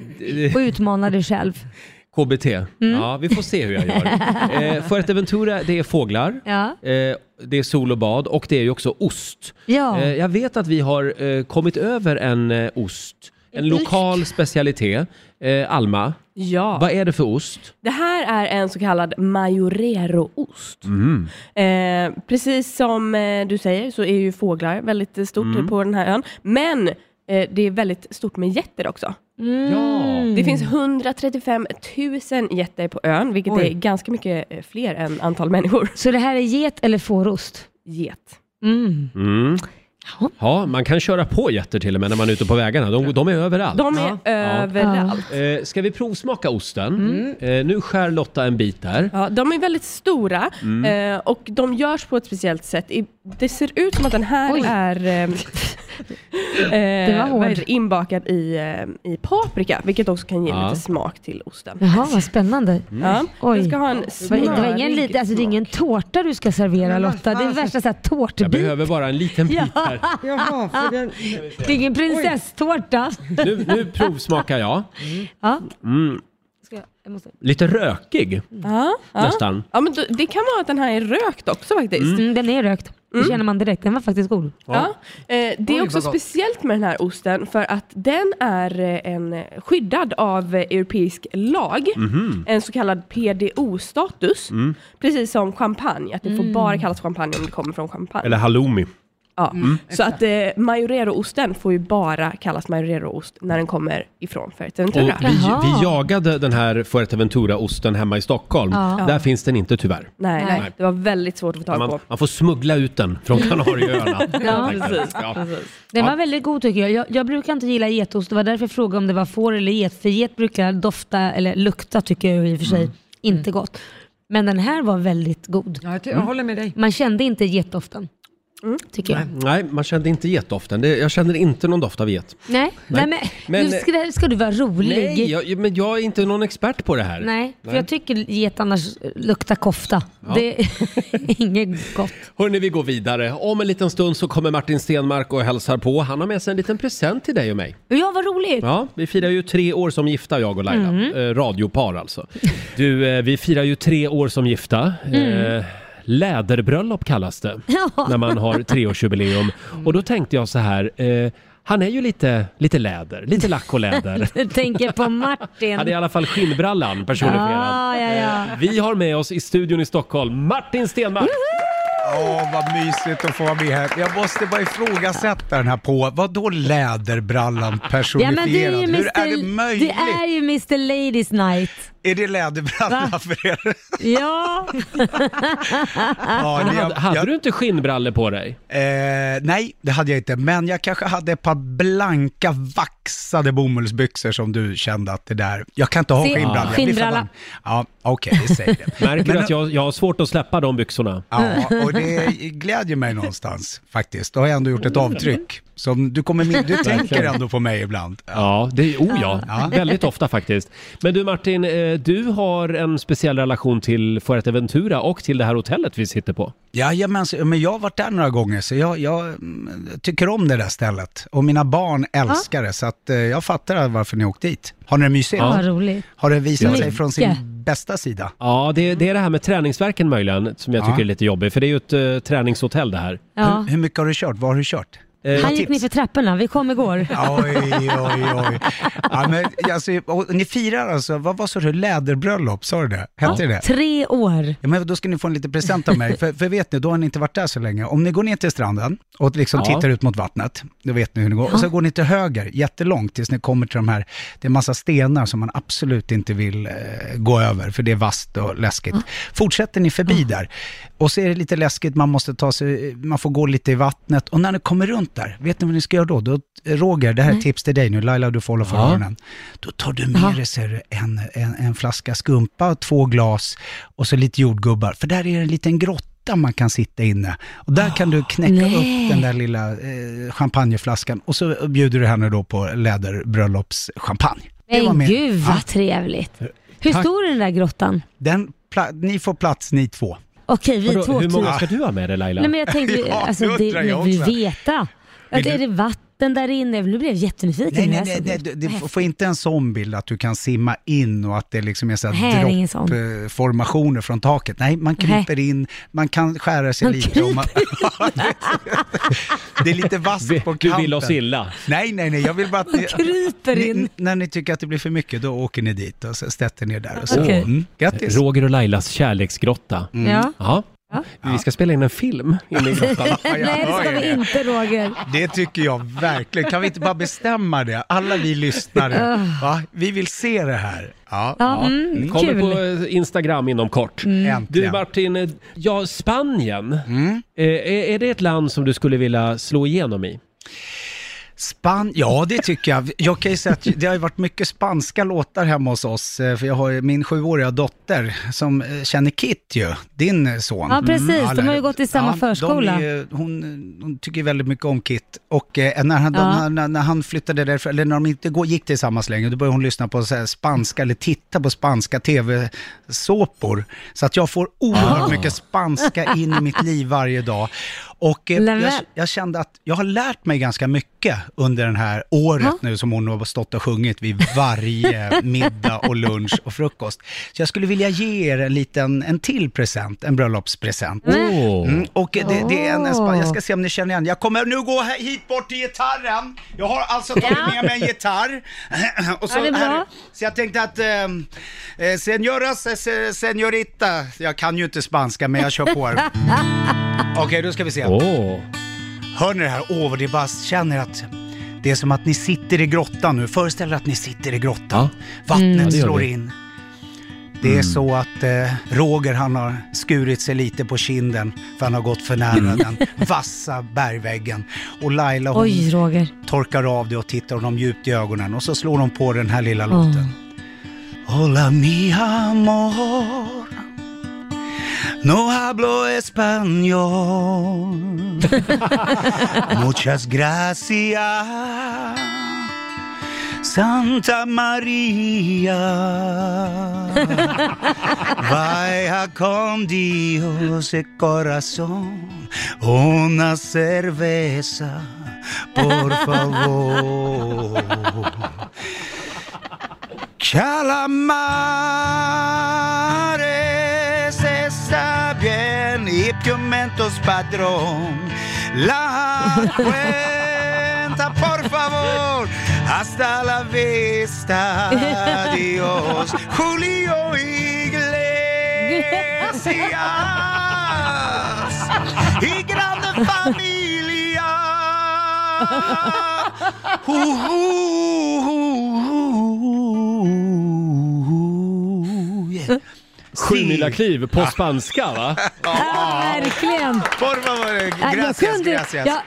Speaker 2: och utmana dig själv.
Speaker 1: KBT.
Speaker 2: Mm.
Speaker 1: Ja, vi får se hur jag gör. eh, Fuerteventura, det är fåglar.
Speaker 2: Ja.
Speaker 1: Eh, det är sol och bad och det är ju också ost.
Speaker 2: Ja.
Speaker 1: Eh, jag vet att vi har eh, kommit över en eh, ost. En lokal specialitet. Eh, Alma,
Speaker 6: Ja.
Speaker 1: vad är det för ost?
Speaker 6: Det här är en så kallad majoreroost. Eh, precis som eh, du säger så är ju fåglar väldigt eh, stort på den här ön. Men eh, det är väldigt stort med getter också.
Speaker 2: Mm.
Speaker 1: Ja.
Speaker 6: Det finns 135 000 getter på ön, vilket
Speaker 3: Oj.
Speaker 6: är ganska mycket eh, fler än antal människor.
Speaker 2: Så det här är get eller fårost?
Speaker 6: Get.
Speaker 2: Mm.
Speaker 1: Mm.
Speaker 2: Ja.
Speaker 1: Ja, man kan köra på getter till och med när man är ute på vägarna. De, de är överallt.
Speaker 6: De är överallt.
Speaker 1: Eh, ska vi provsmaka osten? Eh, nu skär Lotta en bit där.
Speaker 6: Ja, de är väldigt stora eh, och de görs på ett speciellt sätt. I- Det ser ut som att den här
Speaker 2: Oj.
Speaker 6: är eh,
Speaker 2: var
Speaker 6: eh, vad
Speaker 2: hård.
Speaker 6: heter det, inbakad i, eh, i paprika, vilket också kan ge
Speaker 1: Ja.
Speaker 6: lite smak till osten.
Speaker 2: Jaha, vad spännande.
Speaker 6: Ja.
Speaker 2: Mm. Oj.
Speaker 6: Den ska ha en
Speaker 2: Det var ingen,
Speaker 6: smörig
Speaker 2: lite, alltså, det är ingen tårta du ska servera Lotta. Det är värsta så här,
Speaker 1: Jag
Speaker 2: tårtbit.
Speaker 1: behöver bara en liten bit här.
Speaker 3: Jaha, för den...
Speaker 2: Mm. Det är ingen prinsesstårta.
Speaker 1: Nu, nu provsmakar jag.
Speaker 2: Ja.
Speaker 1: Mm.
Speaker 2: Ja, jag måste...
Speaker 1: Lite rökig
Speaker 6: Ja, ja.
Speaker 1: nästan.
Speaker 6: Ja, men då, det kan vara att den här är rökt också faktiskt.
Speaker 2: mm, den är rökt. Det känner man direkt. Den var faktiskt god.
Speaker 6: Ja. Eh, det är
Speaker 3: vad
Speaker 6: också
Speaker 3: gott.
Speaker 6: speciellt med den här osten för att den är eh, en eh, skyddad av eh, europeisk lag, en så kallad PDO-status, precis som champagne, att det
Speaker 2: Mm.
Speaker 6: får bara kallas champagne om det kommer från champagne.
Speaker 1: Eller halloumi.
Speaker 6: Ja. Så att eh, Majorero-osten får ju bara kallas Majorero-ost när den kommer ifrån
Speaker 1: Och
Speaker 6: Fuerteventura.
Speaker 1: vi,
Speaker 2: Jaha.
Speaker 1: vi jagade den här Fuerteventura-osten hemma i Stockholm.
Speaker 2: Ja.
Speaker 1: Där finns den inte tyvärr.
Speaker 6: Nej,
Speaker 2: Nej.
Speaker 6: det var väldigt svårt att få tag på.
Speaker 1: Man, man får smuggla ut den från Kanarieöarna.
Speaker 2: Ja,
Speaker 1: precis. Ja.
Speaker 2: Den
Speaker 1: Ja.
Speaker 2: var väldigt god tycker jag. jag. Jag brukar inte gilla getost. Det var därför jag frågade om det var får eller get. För get brukar dofta, eller lukta tycker jag i och för sig, inte gott. Men den här var väldigt god.
Speaker 3: Ja, jag, ty- jag håller med dig.
Speaker 2: Man kände inte getdoften. Tycker jag.
Speaker 1: Nej, man kände inte getdoften. Det, jag känner inte någon doft av get.
Speaker 2: Nej, nej. men,
Speaker 1: Men-
Speaker 2: nu ska, ska du vara rolig.
Speaker 1: Nej, jag, men jag är inte någon expert på det här.
Speaker 2: Nej, för jag tycker get annars luktar kofta. Det är inget gott.
Speaker 1: Hörni, vi går vidare. Om en liten stund så kommer Martin Stenmark och hälsar på. Han har med sig en liten present till dig och mig.
Speaker 2: Ja, vad roligt!
Speaker 1: Ja, vi firar ju tre år som gifta, jag och Laila.
Speaker 2: Mm.
Speaker 1: Eh, radiopar alltså. Du, eh, vi firar ju tre år som gifta. Eh, läderbröllop kallas det.
Speaker 2: Mm. Ja. Mm.
Speaker 1: När man har treårsjubileum. Och då tänkte jag så här. Eh, han är ju lite, lite läder, lite lack och läder.
Speaker 2: Du tänker på
Speaker 1: Han är i
Speaker 2: Martin.
Speaker 1: alla fall skinnbrallan personifierad.
Speaker 2: Ah, ja, ja.
Speaker 1: Vi har med oss i studion i Stockholm Martin Stenmark.
Speaker 8: Åh, vad mysigt att få vara med här. Jag måste bara ifrågasätta den här på. Vadå läderbrallan
Speaker 2: Ja, men det är
Speaker 8: personifierad?
Speaker 2: ju
Speaker 8: Hur är det
Speaker 2: Mr.
Speaker 8: möjligt?
Speaker 2: Det är ju Mr Ladies Night.
Speaker 8: Är det läderbrallan
Speaker 2: Va?
Speaker 8: för er?
Speaker 2: Ja,
Speaker 8: Ja,
Speaker 1: Men
Speaker 8: det-
Speaker 1: hade, hade
Speaker 8: jag,
Speaker 1: du inte skinnbrallor på dig?
Speaker 8: eh, nej, det hade jag inte. Men jag kanske hade ett par blanka vaxade bomullsbyxor som du kände att det där... Jag kan inte ha
Speaker 2: Se,
Speaker 8: skinnbralla. jag blir
Speaker 2: skinnbralla.
Speaker 8: förbannad. Ja, okej, vi säger det.
Speaker 1: Märker du att jag, jag har svårt att släppa de byxorna?
Speaker 8: Ja, och det glädjer mig någonstans faktiskt. Då har jag ändå gjort ett avtryck. Som du, kommer, min- du tänker ändå på mig ibland.
Speaker 1: Ja, det är oh ja. Väldigt ofta faktiskt. Men du Martin, eh, du har en speciell relation till Fuerteventura och till det här hotellet vi sitter på.
Speaker 8: Jajamensan, men jag har varit där några gånger så jag, jag mm, tycker om det där stället. Och mina barn älskar det så att eh, jag fattar varför ni åkt dit. Har ni det mysigt?
Speaker 2: vad roligt.
Speaker 8: Har det visat sig
Speaker 2: Mycket.
Speaker 8: från sin bästa sida?
Speaker 1: Ja, det, det är det här med träningsverken möjligen som jag
Speaker 8: Ja.
Speaker 1: tycker är lite jobbigt, för det är ju ett eh, träningshotell det här.
Speaker 2: Ja.
Speaker 8: Hur, hur mycket har du kört? Vad har du kört?
Speaker 1: Eh,
Speaker 2: Han gick ner för trapporna, vi kom igår.
Speaker 8: Oj, oj, oj. Ja, men, alltså, och, ni firar alltså, vad var så du, läderbröllop? Sa du det? Hette det?
Speaker 2: Tre år.
Speaker 8: Ja, men då ska ni få en liten present av mig, för, för vet ni, då har ni inte varit där så länge. Om ni går ner till stranden och liksom
Speaker 1: Ja.
Speaker 8: tittar ut mot vattnet, då vet ni hur ni går. Och så går ni till höger, jättelångt, tills ni kommer till de här, det är en massa stenar som man absolut inte vill eh, gå över, för det är vasst och läskigt. Fortsätter ni förbi där, och så är det lite läskigt, man måste ta sig, man får gå lite i vattnet. Och när ni kommer runt där, vet ni vad ni ska göra då? då Roger, det här är ett tips till dig nu, Laila du får hålla för
Speaker 1: Ja.
Speaker 8: öronen. Då tar du med dig ser du, en, en, en flaska skumpa, två glas och så lite jordgubbar. För där är det en liten grotta man kan sitta inne. Och där kan du knäcka
Speaker 2: Ah, Nej.
Speaker 8: upp den där lilla eh, champagneflaskan och så bjuder du henne då på läderbröllopschampagne. Det var
Speaker 2: Men
Speaker 8: min-
Speaker 2: gud
Speaker 8: Ja.
Speaker 2: vad trevligt. Hur
Speaker 8: Tack.
Speaker 2: stor är den där grottan?
Speaker 8: Den pla- ni får plats ni två.
Speaker 2: Okej, vi
Speaker 1: Vadå,
Speaker 2: två
Speaker 1: hur många
Speaker 2: många...
Speaker 1: ska du ha med dig Laila?
Speaker 2: Nej men jag tänkte,
Speaker 8: Ja,
Speaker 2: alltså
Speaker 8: det
Speaker 2: det
Speaker 8: undrar jag
Speaker 2: vill
Speaker 8: också.
Speaker 2: vi veta. Att,
Speaker 8: Vill
Speaker 2: är det
Speaker 8: du-
Speaker 2: vatten där inne? Nu blev jag jättenyfiken.
Speaker 8: Nej,
Speaker 2: nu,
Speaker 8: nej, nej,
Speaker 2: alltså.
Speaker 8: nej du, du f- får inte en sån bild att du kan simma in och att det liksom är så
Speaker 2: Nej, det är ingen
Speaker 8: här
Speaker 2: sån.
Speaker 8: droppformationer från taket. Nej, man kryper in, man kan skära sig
Speaker 2: Man
Speaker 8: lite. och Man det är lite vasst
Speaker 1: Vi-
Speaker 8: på kanten.
Speaker 1: du vill oss illa.
Speaker 8: Nej, nej, nej, jag vill bara att ni,
Speaker 2: kryper
Speaker 8: ni,
Speaker 2: in.
Speaker 8: n- När ni tycker att det blir för mycket, då åker ni dit och så sätter ni er där. Och så.
Speaker 2: Okej.
Speaker 8: Mm, grattis!
Speaker 1: Roger och Lailas kärleksgrotta.
Speaker 2: Mm. Ja.
Speaker 1: Ja. Vi ska spela in en film inne i grottan.
Speaker 2: Nej det ska vi inte Roger.
Speaker 8: Det tycker jag verkligen. Kan vi inte bara bestämma det? Alla vi lyssnare, va? vi vill se det här. Ja,
Speaker 2: Ja, mm,
Speaker 1: Kommer
Speaker 2: kul. Mm.
Speaker 1: på eh, Instagram inom kort.
Speaker 8: äntligen. Mm.
Speaker 1: Du Martin, eh, ja Spanien. Eh, är, är det ett land som du skulle vilja slå igenom i?
Speaker 8: Span ja, det tycker jag. Jag kan ju säga att det har ju varit mycket spanska låtar hemma hos oss, eh, för jag har ju min sjuåriga dotter som eh, känner Kit ju, din eh, son.
Speaker 2: Ja, precis. De
Speaker 8: alla-
Speaker 2: har ju gått i samma
Speaker 8: de är
Speaker 2: förskola.
Speaker 8: ju- hon, hon tycker väldigt mycket om Kit. Och eh, när han,
Speaker 2: Ja.
Speaker 8: när, när han flyttade därifrån, eller när de inte gå- gick tillsammans längre, då började hon lyssna på så här spanska, eller titta på spanska tv-såpor. Så att jag får oerhört mycket spanska in i mitt liv varje dag. Och eh,
Speaker 2: Lämna.
Speaker 8: jag, jag kände att jag har lärt mig ganska mycket under det här året
Speaker 2: Ja.
Speaker 8: nu som hon har stått och sjungit vid varje middag och lunch och frukost. Så jag skulle vilja ge er en liten, en till present, en bröllopspresent.
Speaker 1: Åh.
Speaker 8: Mm, och det, det är en, en spa-
Speaker 2: Åh.
Speaker 8: jag ska se om ni känner igen. Jag kommer nu gå här, hit bort till gitarren. Jag har alltså tagit med mig en gitarr. och så,
Speaker 2: Ja, det är bra.
Speaker 8: här, så jag tänkte att, ehm, eh, senioras, eh, se- senorita. Jag kan ju inte spanska, men jag kör på här. Okej, då ska vi se.
Speaker 1: Åh.
Speaker 8: Hör ni det här? Åh, vad det bara känner att det är som att ni sitter i grottan nu. Föreställ er att ni sitter i grottan. Vattnet
Speaker 1: Ja, det gör
Speaker 8: slår
Speaker 1: vi. Mm.
Speaker 8: in. Det är så att eh, Roger han har skurit sig lite på kinden för han har gått för nära den vassa bergväggen. Och Laila hon
Speaker 2: Oj, Roger.
Speaker 8: torkar av det och tittar honom djupt i ögonen och så slår hon på den här lilla låten. Hola mi amor No hablo español Muchas gracias Santa Maria Vaya con Dios el corazón Una cerveza Por favor Calamares está bien y pimentos patrón. La cuenta, por favor. Hasta la vista, adiós. Julio Iglesias y grande familia. Yeah.
Speaker 1: Sjumilakliv
Speaker 8: Ah.
Speaker 1: på spanska va?
Speaker 2: Ja, verkligen.
Speaker 8: Por favor,
Speaker 2: Ja, jag,
Speaker 8: gracias,
Speaker 2: Äh, kunde,
Speaker 8: gracias.
Speaker 2: Jag,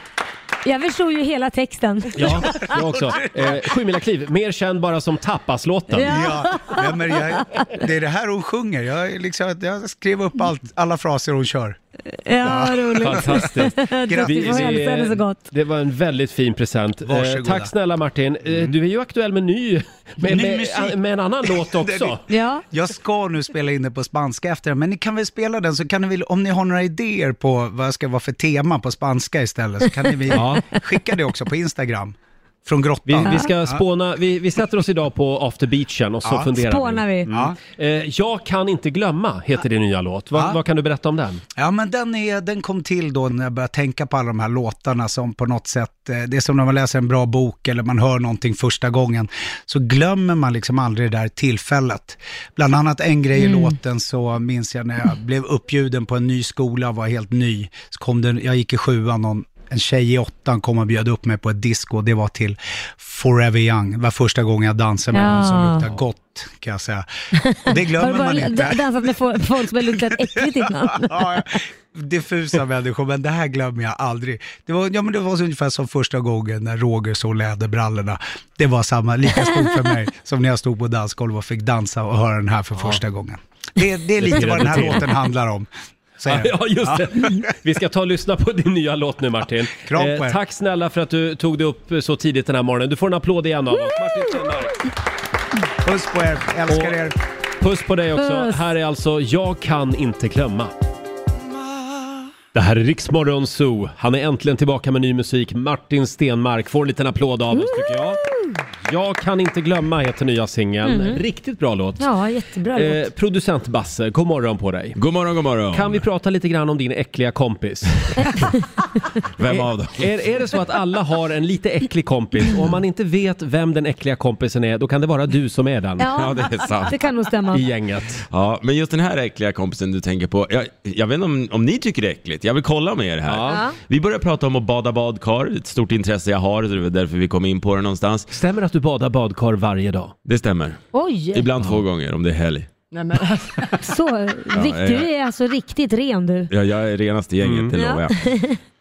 Speaker 2: jag förstod ju hela texten.
Speaker 1: Ja, jag också. Eh, Sjumilakliv, mer känd bara som Tappaslåten.
Speaker 2: Ja.
Speaker 8: Ja, nej, men jag, det är det här hon sjunger. Jag, är liksom, jag skrev upp allt, alla fraser hon kör.
Speaker 2: Ja, vad roligt.
Speaker 1: Fantastiskt.
Speaker 2: Du, du får hälsa henne så gott.
Speaker 1: det var en väldigt fin present. Eh,
Speaker 8: Varsågoda. Mm.
Speaker 1: Tack snälla Martin. Eh, Du är ju aktuell med ny, med,
Speaker 8: Ny
Speaker 1: med, ah,
Speaker 8: musik.
Speaker 1: med en annan låt också.
Speaker 2: Ja.
Speaker 8: Jag ska nu spela in det på spanska efter det, men ni kan väl spela den så kan ni väl, om ni har några idéer på vad det ska vara för tema på spanska istället, så kan ni väl
Speaker 1: Ja.
Speaker 8: skicka det också på Instagram. Från
Speaker 1: Vi,
Speaker 8: grottan.
Speaker 1: vi ska spåna, vi, vi sätter oss idag på after beachen och så
Speaker 8: Ja.
Speaker 1: funderar
Speaker 2: Spånar vi.
Speaker 8: Ja.
Speaker 1: Eh, Jag kan inte glömma heter din nya låt. Va,
Speaker 8: Ja.
Speaker 1: Vad kan du berätta om den?
Speaker 8: Ja, men den, är, den kom till då när jag började tänka på alla de här låtarna som på något sätt, eh, det är som när man läser en bra bok eller man hör någonting första gången, så glömmer man liksom aldrig det där tillfället. Bland annat en grej i låten så minns jag när jag blev uppbjuden på en ny skola och var helt ny, så kom den, jag gick i sjuan, någon, en tjej i åttan kom och bjöd upp mig på ett disco, det var till Forever Young, det var första gången jag dansade med någon som
Speaker 2: Ja.
Speaker 8: luktade gott, kan jag säga. Och det
Speaker 2: Har du
Speaker 8: glömmer man
Speaker 2: bara
Speaker 8: inte.
Speaker 2: d- dansat med fo- folk som har luktat äckligt innan?
Speaker 8: Ja, diffusa människor, men det här glömmer jag aldrig. Det var, ja, men det var så ungefär som första gången när Roger såg läderbrallorna. Det var samma, lika stort för mig som när jag stod på dansgolvet och fick dansa och höra den här för första gången. Det, det är lite vad den här låten handlar om. säger jag.
Speaker 1: Ja, just det. Vi ska ta och lyssna på din nya låt nu Martin. Eh,
Speaker 8: Kram på er.
Speaker 1: tack snälla för att du tog dig upp så tidigt den här morgonen. Du får en applåd igen av oss. Martin Stenmark.
Speaker 8: Puss på er, älskar
Speaker 1: Och-
Speaker 8: er.
Speaker 1: Puss på dig också.
Speaker 2: Puss.
Speaker 1: Här är alltså Jag kan inte glömma. Det här är Riksmorgon Zoo. Han är äntligen tillbaka med ny musik. Martin Stenmark får en liten applåd av oss tycker jag. Jag kan inte glömma heter nya singeln. Riktigt bra låt.
Speaker 2: Mhm. Ja, jättebra
Speaker 1: Eh,
Speaker 2: låt.
Speaker 1: producent Basse, god morgon på dig.
Speaker 7: God morgon, god morgon.
Speaker 1: Kan vi prata lite grann om din äckliga kompis?
Speaker 7: Vem av dem?
Speaker 1: Är, är det så att alla har en lite äcklig kompis och om man inte vet vem den äckliga kompisen är då kan det vara du som är den
Speaker 7: Ja,
Speaker 2: Ja,
Speaker 7: det är sant.
Speaker 2: det kan nog stämma.
Speaker 1: i gänget.
Speaker 7: Ja, men just den här äckliga kompisen du tänker på, jag, jag vet inte om, om ni tycker det är äckligt, jag vill kolla med er här.
Speaker 1: Ja.
Speaker 7: Vi börjar prata om att bada badkar, ett stort intresse jag har, så det var därför vi kom in på det någonstans.
Speaker 1: Stämmer det att du badar badkar varje dag?
Speaker 7: Det stämmer.
Speaker 2: Oj,
Speaker 7: Ibland två gånger om det är helg.
Speaker 3: Nej, men,
Speaker 2: så, rikt, du är alltså riktigt ren du.
Speaker 7: Ja, jag är renast i gänget, det lovar jag.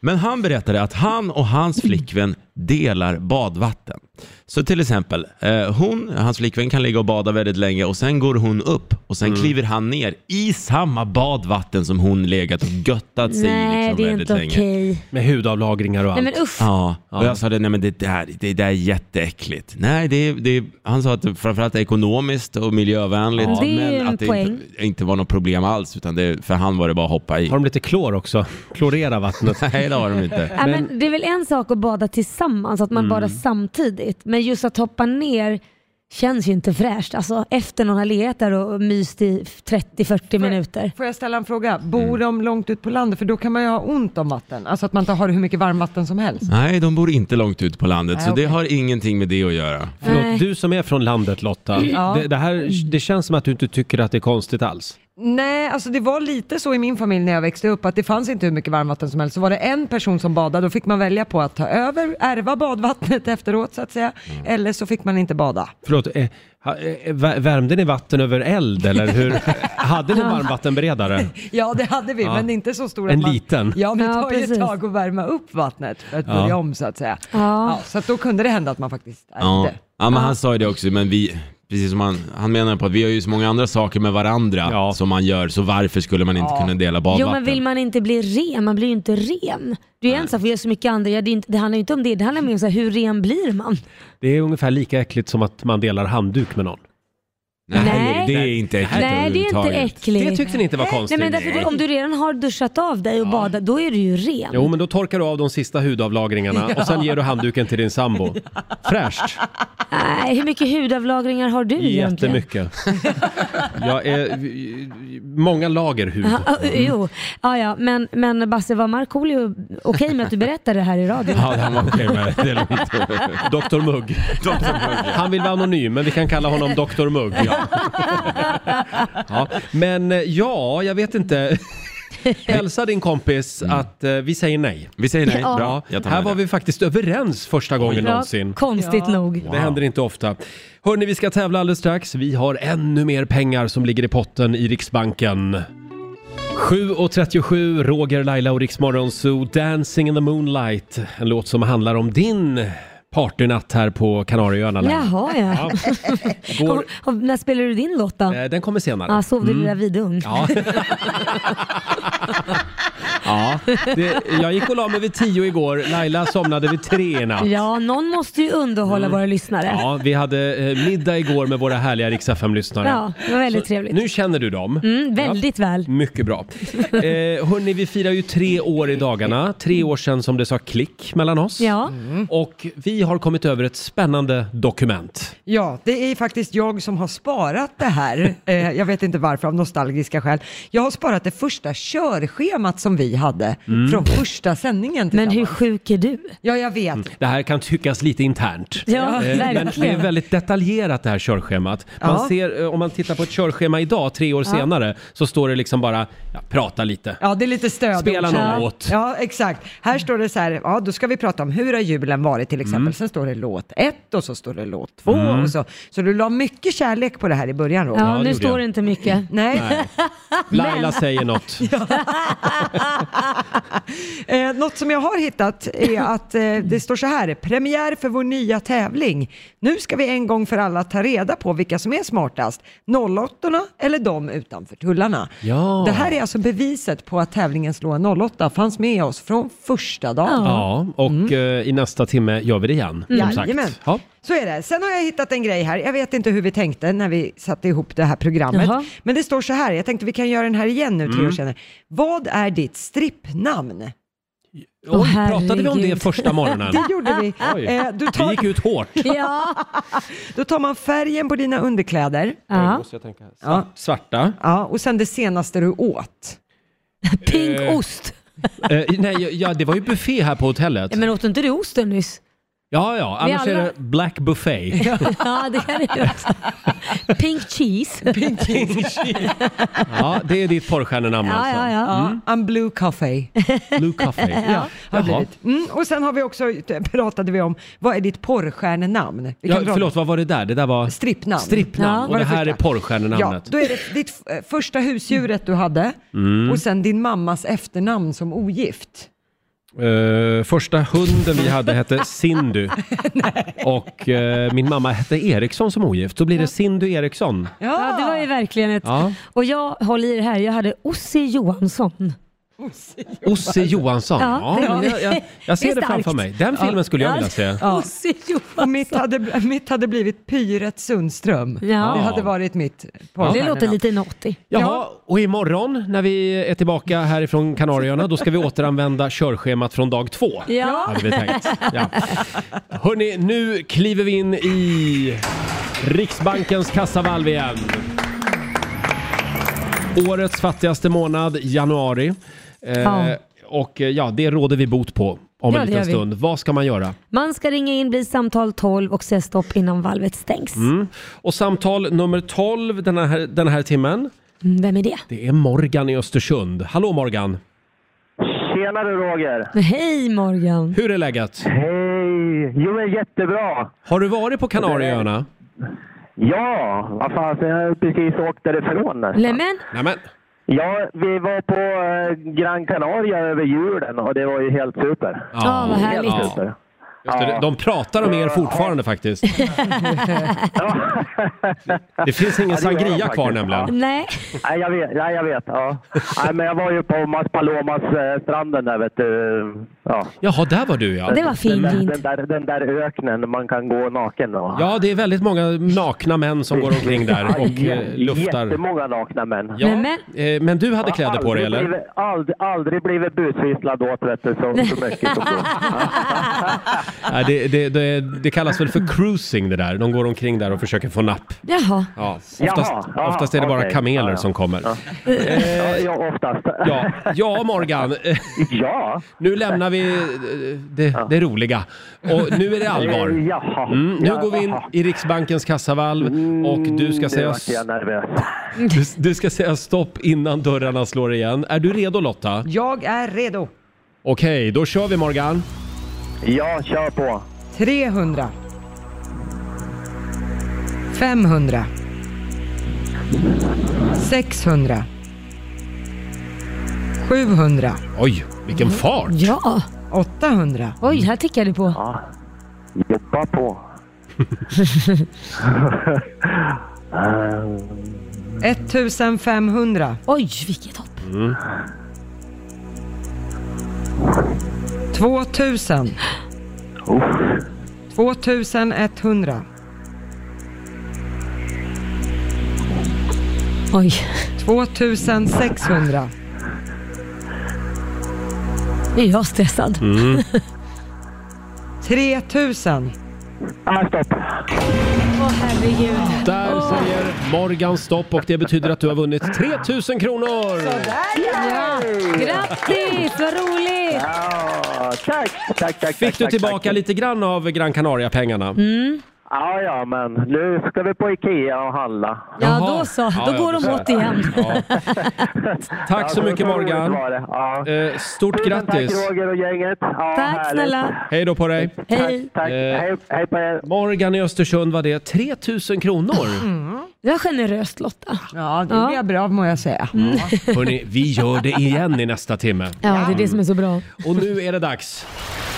Speaker 7: Men han berättade att han och hans flickvän delar badvatten. Så till exempel, eh, hon, hans flickvän kan ligga och bada väldigt länge och sen går hon upp och sen kliver han ner i samma badvatten som hon legat och göttat sig i
Speaker 2: Nej,
Speaker 7: liksom
Speaker 2: det är
Speaker 7: väldigt
Speaker 2: inte
Speaker 7: länge.
Speaker 2: okej.
Speaker 1: Med hudavlagringar och allt.
Speaker 2: Nej men usch.
Speaker 7: Ja, och
Speaker 1: Ja.
Speaker 7: jag sa det, nej men det där, det där är jätteäckligt. Nej, det, det, han sa att det framförallt är ekonomiskt och miljövänligt,
Speaker 2: Ja, det är ju
Speaker 7: men
Speaker 2: en
Speaker 7: att det
Speaker 2: poäng.
Speaker 7: inte, inte var något problem alls, utan det, för han var det bara att hoppa i.
Speaker 1: Har de lite klor också? Klorera vattnet.
Speaker 7: Nej, det har de inte.
Speaker 2: Ja, men det är väl en sak att bada tillsammans, att man badar samtidigt. Men just att hoppa ner känns ju inte fräscht. Alltså efter någon har legat där och myst i 30-40 minuter.
Speaker 3: Får jag ställa en fråga? Bor
Speaker 2: Mm.
Speaker 3: de långt ut på landet? För då kan man ju ha ont om vatten. Alltså att man inte har hur mycket varmvatten som helst.
Speaker 7: Nej, de bor inte långt ut på landet,
Speaker 3: Nej,
Speaker 7: så det
Speaker 3: okej.
Speaker 7: har ingenting med det att göra.
Speaker 2: Nej.
Speaker 1: Förlåt, du som är från landet Lotta,
Speaker 3: Ja.
Speaker 1: det, det, här, det känns som att du inte tycker att det är konstigt alls.
Speaker 3: Nej, alltså det var lite så i min familj när jag växte upp att det fanns inte hur mycket varmvatten som helst. Så var det en person som badade, då fick man välja på att ta över, ärva badvattnet efteråt så att säga. Eller så fick man inte bada.
Speaker 1: Förlåt, eh, ha- eh, vä- värmde ni vatten över eld eller hur? Hade ni varmvattenberedare?
Speaker 3: Ja, det hade vi,
Speaker 1: Ja.
Speaker 3: men inte så stor
Speaker 1: En
Speaker 3: att man...
Speaker 1: liten.
Speaker 3: Ja, men det
Speaker 2: Ja,
Speaker 3: tar ju ett
Speaker 2: precis.
Speaker 3: tag att värma upp vattnet för att
Speaker 1: Ja.
Speaker 3: börja om så att säga.
Speaker 2: Ja.
Speaker 3: Ja, så att då kunde det hända att man faktiskt ärvde.
Speaker 7: Ja, ja men han sa ju det också, men vi, precis som han, han menar på att vi har ju så många andra saker med varandra
Speaker 1: Ja.
Speaker 7: som man gör, så varför skulle man inte
Speaker 3: Ja.
Speaker 7: kunna dela
Speaker 2: Jo
Speaker 7: badvatten?
Speaker 2: men vill man inte bli ren, man blir ju inte ren. Det är ju en sak, vi gör så mycket andra, ja, det, är inte, det handlar ju inte om det, det handlar mer om så här, hur ren blir man?
Speaker 1: Det är ungefär lika äckligt som att man delar handduk med någon.
Speaker 7: Nej,
Speaker 2: Nej.
Speaker 7: det är inte äckligt
Speaker 2: Nej det är inte
Speaker 7: överhuvudtaget.
Speaker 2: äckligt.
Speaker 1: Det tyckte ni inte var
Speaker 2: Nej
Speaker 1: konstigt?
Speaker 2: men därför, om du redan har duschat av dig och badat, då är du ju ren.
Speaker 1: Jo, men då torkar du av de sista hudavlagringarna och sen ger du handduken till din sambo. Fräscht!
Speaker 2: Nej, hur mycket hudavlagringar har du egentligen?
Speaker 1: Jättemycket. Jag är... Många lager hud.
Speaker 2: Ja, ah,
Speaker 1: Mm.
Speaker 2: jo, ja, ja. men, men Basse var Markoolio okej med att du berättade det här i radio?
Speaker 7: Ja, han var okej med det. det. är lugnt.
Speaker 1: Dr Mugg. Han vill vara anonym, men vi kan kalla honom Dr Mugg. Ja. Ja, men eh, ja, jag vet inte. Hälsa din kompis att eh, vi säger nej.
Speaker 7: Vi säger nej.
Speaker 2: Ja.
Speaker 7: Bra, jag tar
Speaker 1: Här
Speaker 7: med
Speaker 1: var
Speaker 7: det.
Speaker 1: vi faktiskt överens första gången
Speaker 2: Ja,
Speaker 1: någonsin.
Speaker 2: Konstigt nog.
Speaker 1: Det händer inte ofta. Hörni, vi ska tävla alldeles strax. Vi har ännu mer pengar som ligger i potten i Riksbanken. 7.37, Roger, Laila och Riksmorgon Zoo, Dancing in the Moonlight. En låt som handlar om din partynatt här på Kanarieöarna. Laila.
Speaker 2: Jaha ja.
Speaker 1: Går,
Speaker 2: Och, och, när spelar du din låt då?
Speaker 1: eh, den kommer senare.
Speaker 2: Ah, sov du i lilla vidung?
Speaker 1: Ja. ja det, jag gick och la mig vid tio igår. Laila somnade vid tre i natt.
Speaker 2: Ja, någon måste ju underhålla våra lyssnare. Ja,
Speaker 1: Mm. Ja, vi hade eh, middag igår med våra härliga Rix lyssnare
Speaker 2: det var väldigt trevligt.
Speaker 1: Nu känner du dem.
Speaker 2: Mm, väldigt väl.
Speaker 1: Mycket bra. Eh, hörni, vi firar ju tre år i dagarna. Tre år sedan som det sa klick mellan oss.
Speaker 2: Ja.
Speaker 1: Och vi har kommit över ett spännande dokument.
Speaker 3: Ja, det är faktiskt jag som har sparat det här. Eh, jag vet inte varför, av nostalgiska skäl. Jag har sparat det första körschemat som vi hade från första sändningen
Speaker 2: Men hur
Speaker 3: tillsammans.
Speaker 2: sjuk är du?
Speaker 3: Ja, jag vet.
Speaker 1: Det här kan tyckas lite internt.
Speaker 2: Ja,
Speaker 1: Eh, Men det är
Speaker 2: verkligen.
Speaker 1: väldigt detaljerat det här körschemat. Man
Speaker 3: Ja.
Speaker 1: ser, eh, om man tittar på ett körschema idag, tre år senare, så står det liksom bara ja, prata lite.
Speaker 3: Ja, det är lite stöd.
Speaker 1: Spela någon
Speaker 3: ja.
Speaker 1: låt.
Speaker 3: Ja, exakt. Här står det så här, ja då ska vi prata om hur har julen varit till exempel. Sen står det låt ett och så står det låt två och så. Så du la mycket kärlek på det här i början Roger.
Speaker 2: Ja,
Speaker 1: det
Speaker 2: nu
Speaker 1: gjorde
Speaker 2: står
Speaker 1: jag.
Speaker 2: det inte mycket.
Speaker 3: Nej.
Speaker 1: Laila säger något.
Speaker 3: Eh, något som jag har hittat är att eh, det står så här, premiär för vår nya tävling. Nu ska vi en gång för alla ta reda på vilka som är smartast, 08 eller de utanför tullarna.
Speaker 1: Ja.
Speaker 3: Det här är alltså beviset på att tävlingen Slå 08 fanns med oss från första dagen.
Speaker 1: Ja, och
Speaker 2: Mm.
Speaker 1: eh, i nästa timme gör vi det igen. Som
Speaker 3: Jajamän.
Speaker 1: sagt. Ja.
Speaker 3: Så är det. Sen har jag hittat en grej här. Jag vet inte hur vi tänkte när vi satte ihop det här programmet.
Speaker 2: Jaha.
Speaker 3: Men det står så här, jag tänkte vi kan göra den här igen nu
Speaker 1: Mm.
Speaker 3: tre år senare. Vad är ditt strippnamn?
Speaker 1: Oj,
Speaker 2: Åh,
Speaker 1: pratade vi om det
Speaker 2: herregud.
Speaker 1: första morgonen?
Speaker 3: Det gjorde vi.
Speaker 1: Oj.
Speaker 3: Eh, du
Speaker 1: Vi
Speaker 3: tar,
Speaker 1: gick ut hårt.
Speaker 2: Ja.
Speaker 3: då tar man färgen på dina underkläder
Speaker 1: Oj,
Speaker 2: ja.
Speaker 1: måste jag tänka. Svart,
Speaker 3: Ja.
Speaker 1: Svarta.
Speaker 3: ja, och sen det senaste du åt.
Speaker 2: Pink ost.
Speaker 1: Eh, nej, ja, det var ju buffé här på hotellet.
Speaker 2: Ja, men åt inte du osten nyss?
Speaker 1: Ja, ja,
Speaker 2: Vi
Speaker 1: annars
Speaker 2: alla-
Speaker 1: är det black buffé.
Speaker 2: Ja, det kan det ju också. Pink cheese.
Speaker 1: Ja, det är ditt porrstjärnenamn
Speaker 2: Ja,
Speaker 1: alltså.
Speaker 2: ja, ja.
Speaker 3: Ja, I'm blue coffee.
Speaker 1: Blue Coffee. Ja,
Speaker 3: Har blivit. Mm, och sen har vi också, pratade vi om, vad är ditt porrstjärnenamn? Vi
Speaker 1: Ja,
Speaker 3: kan dra-
Speaker 1: förlåt, vad var det där? Det där var
Speaker 3: Strippnamn.
Speaker 1: strippnamn.
Speaker 2: Ja.
Speaker 1: Och det
Speaker 3: Var det
Speaker 1: här är
Speaker 3: första? Ja,
Speaker 1: porrstjärnenamnet.
Speaker 3: då är det ditt eh,
Speaker 2: Mm.
Speaker 3: första husdjuret du hade och sen din mammas efternamn som ogift.
Speaker 1: Eh, första hunden vi hade hette Sindu. och eh, min mamma hette Eriksson som ogift. Då blir det Sindu Eriksson.
Speaker 2: Ja, det var ju verkligen ett...
Speaker 1: Ja.
Speaker 2: Och jag, håller i det här, jag hade Ossi Johansson.
Speaker 1: Osse Johansson. Ja,
Speaker 2: Ja, det-
Speaker 1: jag, jag, jag
Speaker 2: det
Speaker 1: ser
Speaker 2: är
Speaker 1: det framför
Speaker 2: starkt.
Speaker 1: mig. Den filmen skulle jag vilja se.
Speaker 3: Ja.
Speaker 2: Ossi
Speaker 3: Och
Speaker 2: Johansson.
Speaker 3: mitt hade, mitt hade blivit Pyret Sundström. Det
Speaker 2: Ja,
Speaker 3: hade varit mitt
Speaker 2: det
Speaker 3: porrstjärnorna.
Speaker 2: låter lite naughty.
Speaker 1: Jaha, och imorgon när vi är tillbaka härifrån Kanarieöarna då ska vi återanvända körschemat från dag två.
Speaker 2: Ja.
Speaker 1: Hade vi tänkt. Ja. Hörni, nu kliver vi in i Riksbankens kassavalv igen. Årets fattigaste månad, januari. Eh,
Speaker 2: Ja.
Speaker 1: Och eh, ja, det råder vi bot på om en
Speaker 2: Ja, det
Speaker 1: liten
Speaker 2: gör vi.
Speaker 1: stund. Vad ska man göra?
Speaker 2: Man ska ringa in, bli samtal 12 och säga stopp innan valvet stängs.
Speaker 1: Mm. Och samtal nummer 12 den här, den här timmen,
Speaker 2: Mm, Vem är det?
Speaker 1: det är Morgan i Östersund. Hallå Morgan!
Speaker 9: Tjena du Roger!
Speaker 2: Hej Morgan!
Speaker 1: Hur är läget?
Speaker 9: Hej! Jo men jättebra!
Speaker 1: Har du varit på Kanarieöarna?
Speaker 9: Ja, vad fan, så jag har precis åkt därifrån.
Speaker 2: Nämen,
Speaker 1: Nämen!
Speaker 9: Ja, vi var på eh, Gran Canaria över julen och det var ju helt super.
Speaker 2: Ja, vad härligt.
Speaker 9: Helt
Speaker 1: Ja,
Speaker 9: super.
Speaker 1: just det. De pratar om er fortfarande faktiskt. Det finns ingen
Speaker 9: Ja, det gör de
Speaker 1: sangria kvar
Speaker 9: faktiskt.
Speaker 1: nämligen.
Speaker 2: nej.
Speaker 9: Nej, jag vet. Nej, jag vet. Ja. Nej, men jag var ju på Mas Palomas eh, stranden där vet du. Ja.
Speaker 1: Jaha, där var du ja.
Speaker 2: Det var
Speaker 9: Den,
Speaker 2: fint.
Speaker 9: där, den, där, den där öknen man kan gå naken. Och,
Speaker 1: Ja, det är väldigt många nakna män som går omkring där och eh, luftar.
Speaker 9: Jättemånga nakna män.
Speaker 1: Ja,
Speaker 2: Nämen.
Speaker 1: eh, men du hade kläder på dig
Speaker 9: Aldrig
Speaker 1: eller?
Speaker 9: Blivit, aldrig, aldrig blivit busvisslad åt vet du, så, så mycket som då.
Speaker 1: Nej, det, det, det, det kallas väl för cruising det där. De går omkring där och försöker få napp.
Speaker 2: Jaha.
Speaker 1: Ja,
Speaker 9: Jaha,
Speaker 1: oftast,
Speaker 9: jaha,
Speaker 1: oftast är det bara
Speaker 9: okej.
Speaker 1: kameler
Speaker 9: Ja, ja.
Speaker 1: som kommer. Eh,
Speaker 9: Ja. Ja, ja, oftast.
Speaker 1: Ja, ja Morgan, eh,
Speaker 9: ja.
Speaker 1: nu lämnar vi eh, det, det roliga. Och nu är det allvar.
Speaker 9: Eh, Jaha.
Speaker 1: Mm, nu
Speaker 9: Jaha.
Speaker 1: går vi in i Riksbankens kassavalv och du ska,
Speaker 9: Mm,
Speaker 1: säga,
Speaker 9: Nu vart jag nervös.
Speaker 1: du, du ska säga stopp innan dörrarna slår igen. Är du redo Lotta?
Speaker 3: Jag är redo.
Speaker 1: Okej, då kör vi Morgan.
Speaker 9: Ja, kör på.
Speaker 3: 300. 500. 600. 700.
Speaker 1: Oj, vilken
Speaker 2: Mm.
Speaker 1: fart!
Speaker 2: Ja.
Speaker 3: 800.
Speaker 2: Oj, här tickar det på.
Speaker 9: Ja. Jobba på.
Speaker 3: 1500.
Speaker 2: Oj, vilket hopp.
Speaker 3: 2000. 2100.
Speaker 2: Oj.
Speaker 3: 2600.
Speaker 2: Nu är jag stressad.
Speaker 1: Mm.
Speaker 3: 3000.
Speaker 9: Ah, stopp.
Speaker 1: Där säger Morgan stopp och det betyder att du har vunnit 3000 kronor!
Speaker 2: Ja. Grattis, vad roligt!
Speaker 9: Ja, tack, tack, tack. tack,
Speaker 1: Fick du
Speaker 9: tack,
Speaker 1: tillbaka
Speaker 9: tack.
Speaker 1: lite grann av Gran Canaria-pengarna?
Speaker 2: Mm,
Speaker 9: Ja, ja, men nu ska vi på Ikea och handla.
Speaker 2: Ja,
Speaker 1: Jaha.
Speaker 2: då så.
Speaker 1: Ja,
Speaker 2: Då
Speaker 1: ja,
Speaker 2: går
Speaker 1: du
Speaker 2: de
Speaker 1: ser.
Speaker 2: åt igen.
Speaker 1: Ja. Tack så
Speaker 9: Ja,
Speaker 1: mycket
Speaker 9: roligt
Speaker 1: Morgan!
Speaker 9: var det. Ja.
Speaker 1: Eh, Stort
Speaker 9: Tusen
Speaker 1: grattis!
Speaker 9: Tack Roger och gänget. Ja,
Speaker 2: Tack
Speaker 9: härligt.
Speaker 2: snälla.
Speaker 1: Hej då på dig!
Speaker 2: Hej.
Speaker 9: Tack.
Speaker 1: Eh.
Speaker 9: Hej, hej på er.
Speaker 1: Morgan i Östersund var det 3000 kronor.
Speaker 2: Det var generöst Lotta.
Speaker 3: Ja, Mm. det blev bra må jag säga.
Speaker 1: Hörrni, vi gör det igen i nästa timme.
Speaker 2: Ja, det är det som är så bra.
Speaker 1: Och nu är det dags.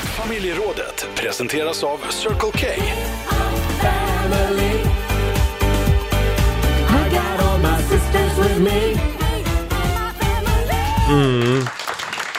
Speaker 4: Familjerådet presenteras av Circle K.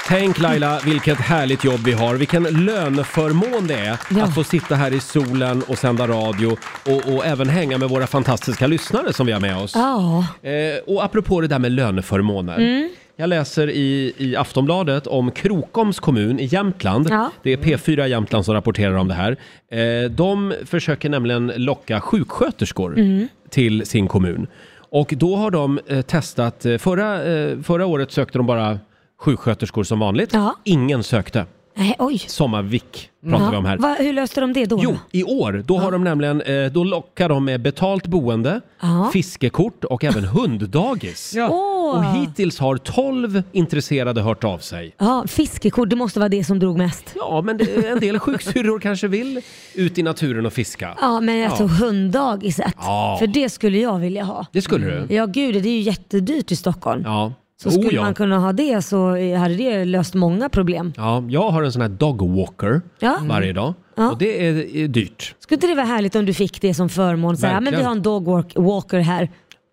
Speaker 1: Tänk Laila, vilket härligt jobb vi har. Vilken löneförmån det är
Speaker 2: Ja.
Speaker 1: att få sitta här i solen och sända radio och, och även hänga med våra fantastiska lyssnare som vi har med oss.
Speaker 2: Ja.
Speaker 1: Eh, och apropå det där med löneförmåner.
Speaker 2: Mm.
Speaker 1: Jag läser i, i Aftonbladet om Krokoms kommun i Jämtland.
Speaker 2: Ja.
Speaker 1: Det är P4 Jämtland som rapporterar om det här. Eh, de försöker nämligen locka sjuksköterskor
Speaker 2: Mm.
Speaker 1: till sin kommun. Och då har de eh, testat, eh, förra, eh, förra året sökte de bara sjuksköterskor som vanligt.
Speaker 2: Ja.
Speaker 1: Ingen sökte.
Speaker 2: Nej, oj.
Speaker 1: Sommarvik pratar vi om här.
Speaker 2: Va, hur löste de det då?
Speaker 1: Jo, i år. Då, har de nämligen, eh, då lockar de med betalt boende,
Speaker 2: Ja.
Speaker 1: fiskekort och även hunddagis.
Speaker 2: Åh.
Speaker 1: Och hittills har 12 intresserade hört av sig.
Speaker 2: Ja, fiskekort, det måste vara det som drog mest.
Speaker 1: Ja, men det, en del sjuksyrror kanske vill ut i naturen och fiska.
Speaker 2: Ja, men jag
Speaker 1: Ja.
Speaker 2: tror hunddagiset.
Speaker 1: Ja.
Speaker 2: För det skulle jag vilja ha.
Speaker 1: Det skulle du?
Speaker 2: Ja, gud, det är ju jättedyrt i Stockholm.
Speaker 1: Ja.
Speaker 2: Så
Speaker 1: Oh,
Speaker 2: skulle
Speaker 1: ja.
Speaker 2: man kunna ha det så hade det löst många problem.
Speaker 1: Ja, jag har en sån här dog walker
Speaker 2: Ja.
Speaker 1: varje dag
Speaker 2: Ja.
Speaker 1: och det är, är dyrt.
Speaker 2: Skulle inte det vara härligt om du fick det som förmån? Så här, "Ja, men
Speaker 1: Verkligen.
Speaker 2: vi har en dog walk- walker här.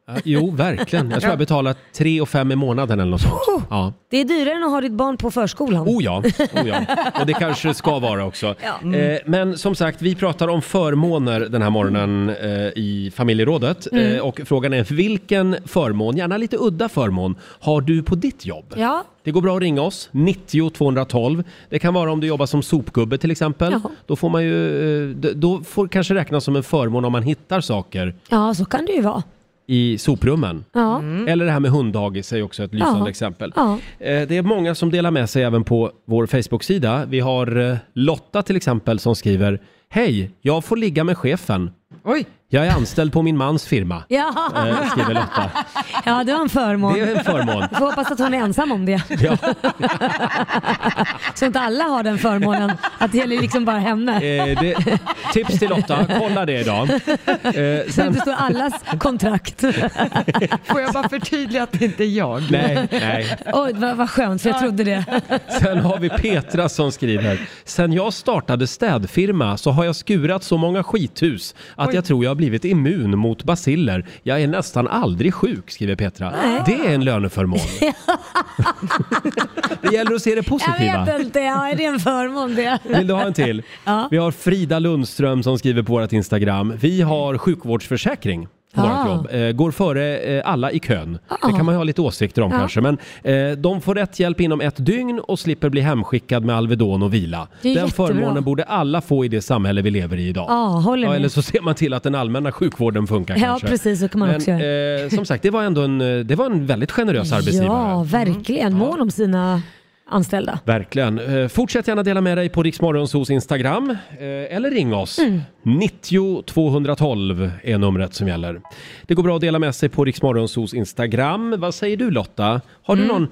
Speaker 1: Ja, Jo, verkligen. Jag tror jag betalar 3 och 5 i månaden eller något sånt. Ja.
Speaker 2: Det är dyrare än att ha ditt barn på förskolan.
Speaker 1: Oh ja, oh ja. Och det kanske det ska vara också. Eh, men som sagt, vi pratar om förmåner den här morgonen eh, i familjerådet.
Speaker 2: Mm.
Speaker 1: Eh, och frågan är vilken förmån, gärna lite udda förmån, har du på ditt jobb?
Speaker 2: Ja.
Speaker 1: Det går bra att ringa oss, 90 212. Det kan vara om du jobbar som sopgubbe till exempel.
Speaker 2: Jaha.
Speaker 1: Då får man ju, eh, d- då får kanske räknas som en förmån om man hittar saker
Speaker 2: ja, så kan det ju vara.
Speaker 1: i soprummen.
Speaker 2: Ja.
Speaker 1: Eller det här med hunddagis är ju också ett lysande
Speaker 2: Mm. Ja.
Speaker 1: exempel.
Speaker 2: Ja.
Speaker 1: Eh, Det är många som delar med sig även på vår Facebook-sida. Vi har eh, Lotta till exempel som skriver Hej, jag får ligga med chefen.
Speaker 3: Oj,
Speaker 1: Jag är anställd på min mans firma.
Speaker 2: Ja.
Speaker 1: eh, Skriver Lotta.
Speaker 2: ja, det var en förmån.
Speaker 1: Det är en förmån.
Speaker 2: Får hoppas att hon är ensam om det.
Speaker 1: Ja.
Speaker 2: Så inte alla har den förmånen. Att det gäller liksom bara henne.
Speaker 1: Eh, det, tips till Lotta, kolla det idag. Eh,
Speaker 2: Så att
Speaker 1: sen,
Speaker 2: det står allas kontrakt.
Speaker 3: får jag bara förtydliga att det inte är jag?
Speaker 1: nej, nej.
Speaker 2: Oj, vad, vad skönt för jag trodde det.
Speaker 1: Sen har vi Petra som skriver. Sen jag startade städfirma så har jag skurat så många skithus att jag tror jag har blivit immun mot basiller. Jag är nästan aldrig sjuk, skriver Petra. Det är en löneförmån. det gäller att se det
Speaker 2: Jag
Speaker 1: positiva.
Speaker 2: vet inte, ja, är det en förmån det?
Speaker 1: Vill du ha en till?
Speaker 2: Ja.
Speaker 1: Vi har Frida Lundström som skriver på vårt Instagram. Vi har sjukvårdsförsäkring. på
Speaker 2: Mm. Ah.
Speaker 1: Vårt jobb. Eh, går före eh, alla i kön. Det kan man ju ha lite åsikter om
Speaker 2: Ja.
Speaker 1: kanske. Men eh, de får rätt hjälp inom ett dygn och slipper bli hemskickad med Alvedon och vila.
Speaker 2: Det är
Speaker 1: Den
Speaker 2: jättebra.
Speaker 1: förmånen borde alla få i det samhälle vi lever i idag.
Speaker 2: Ja, håller
Speaker 1: Ja,
Speaker 2: med.
Speaker 1: eller så ser man till att den allmänna sjukvården funkar
Speaker 2: Ja,
Speaker 1: kanske.
Speaker 2: precis, så kan man
Speaker 1: Men,
Speaker 2: också
Speaker 1: eh, som sagt, det var ändå en, eh, det var en väldigt generös arbetsgivare.
Speaker 2: Ja, verkligen. Mån om sina anställda.
Speaker 1: Verkligen. Eh, Fortsätt gärna dela med dig på Riksmorgonsos Instagram eh, eller ring oss.
Speaker 2: Mm.
Speaker 1: 90 212 är numret som gäller. Det går bra att dela med sig på Riksmorgonsos Instagram. Vad säger du Lotta? Har
Speaker 2: Mm.
Speaker 1: du någon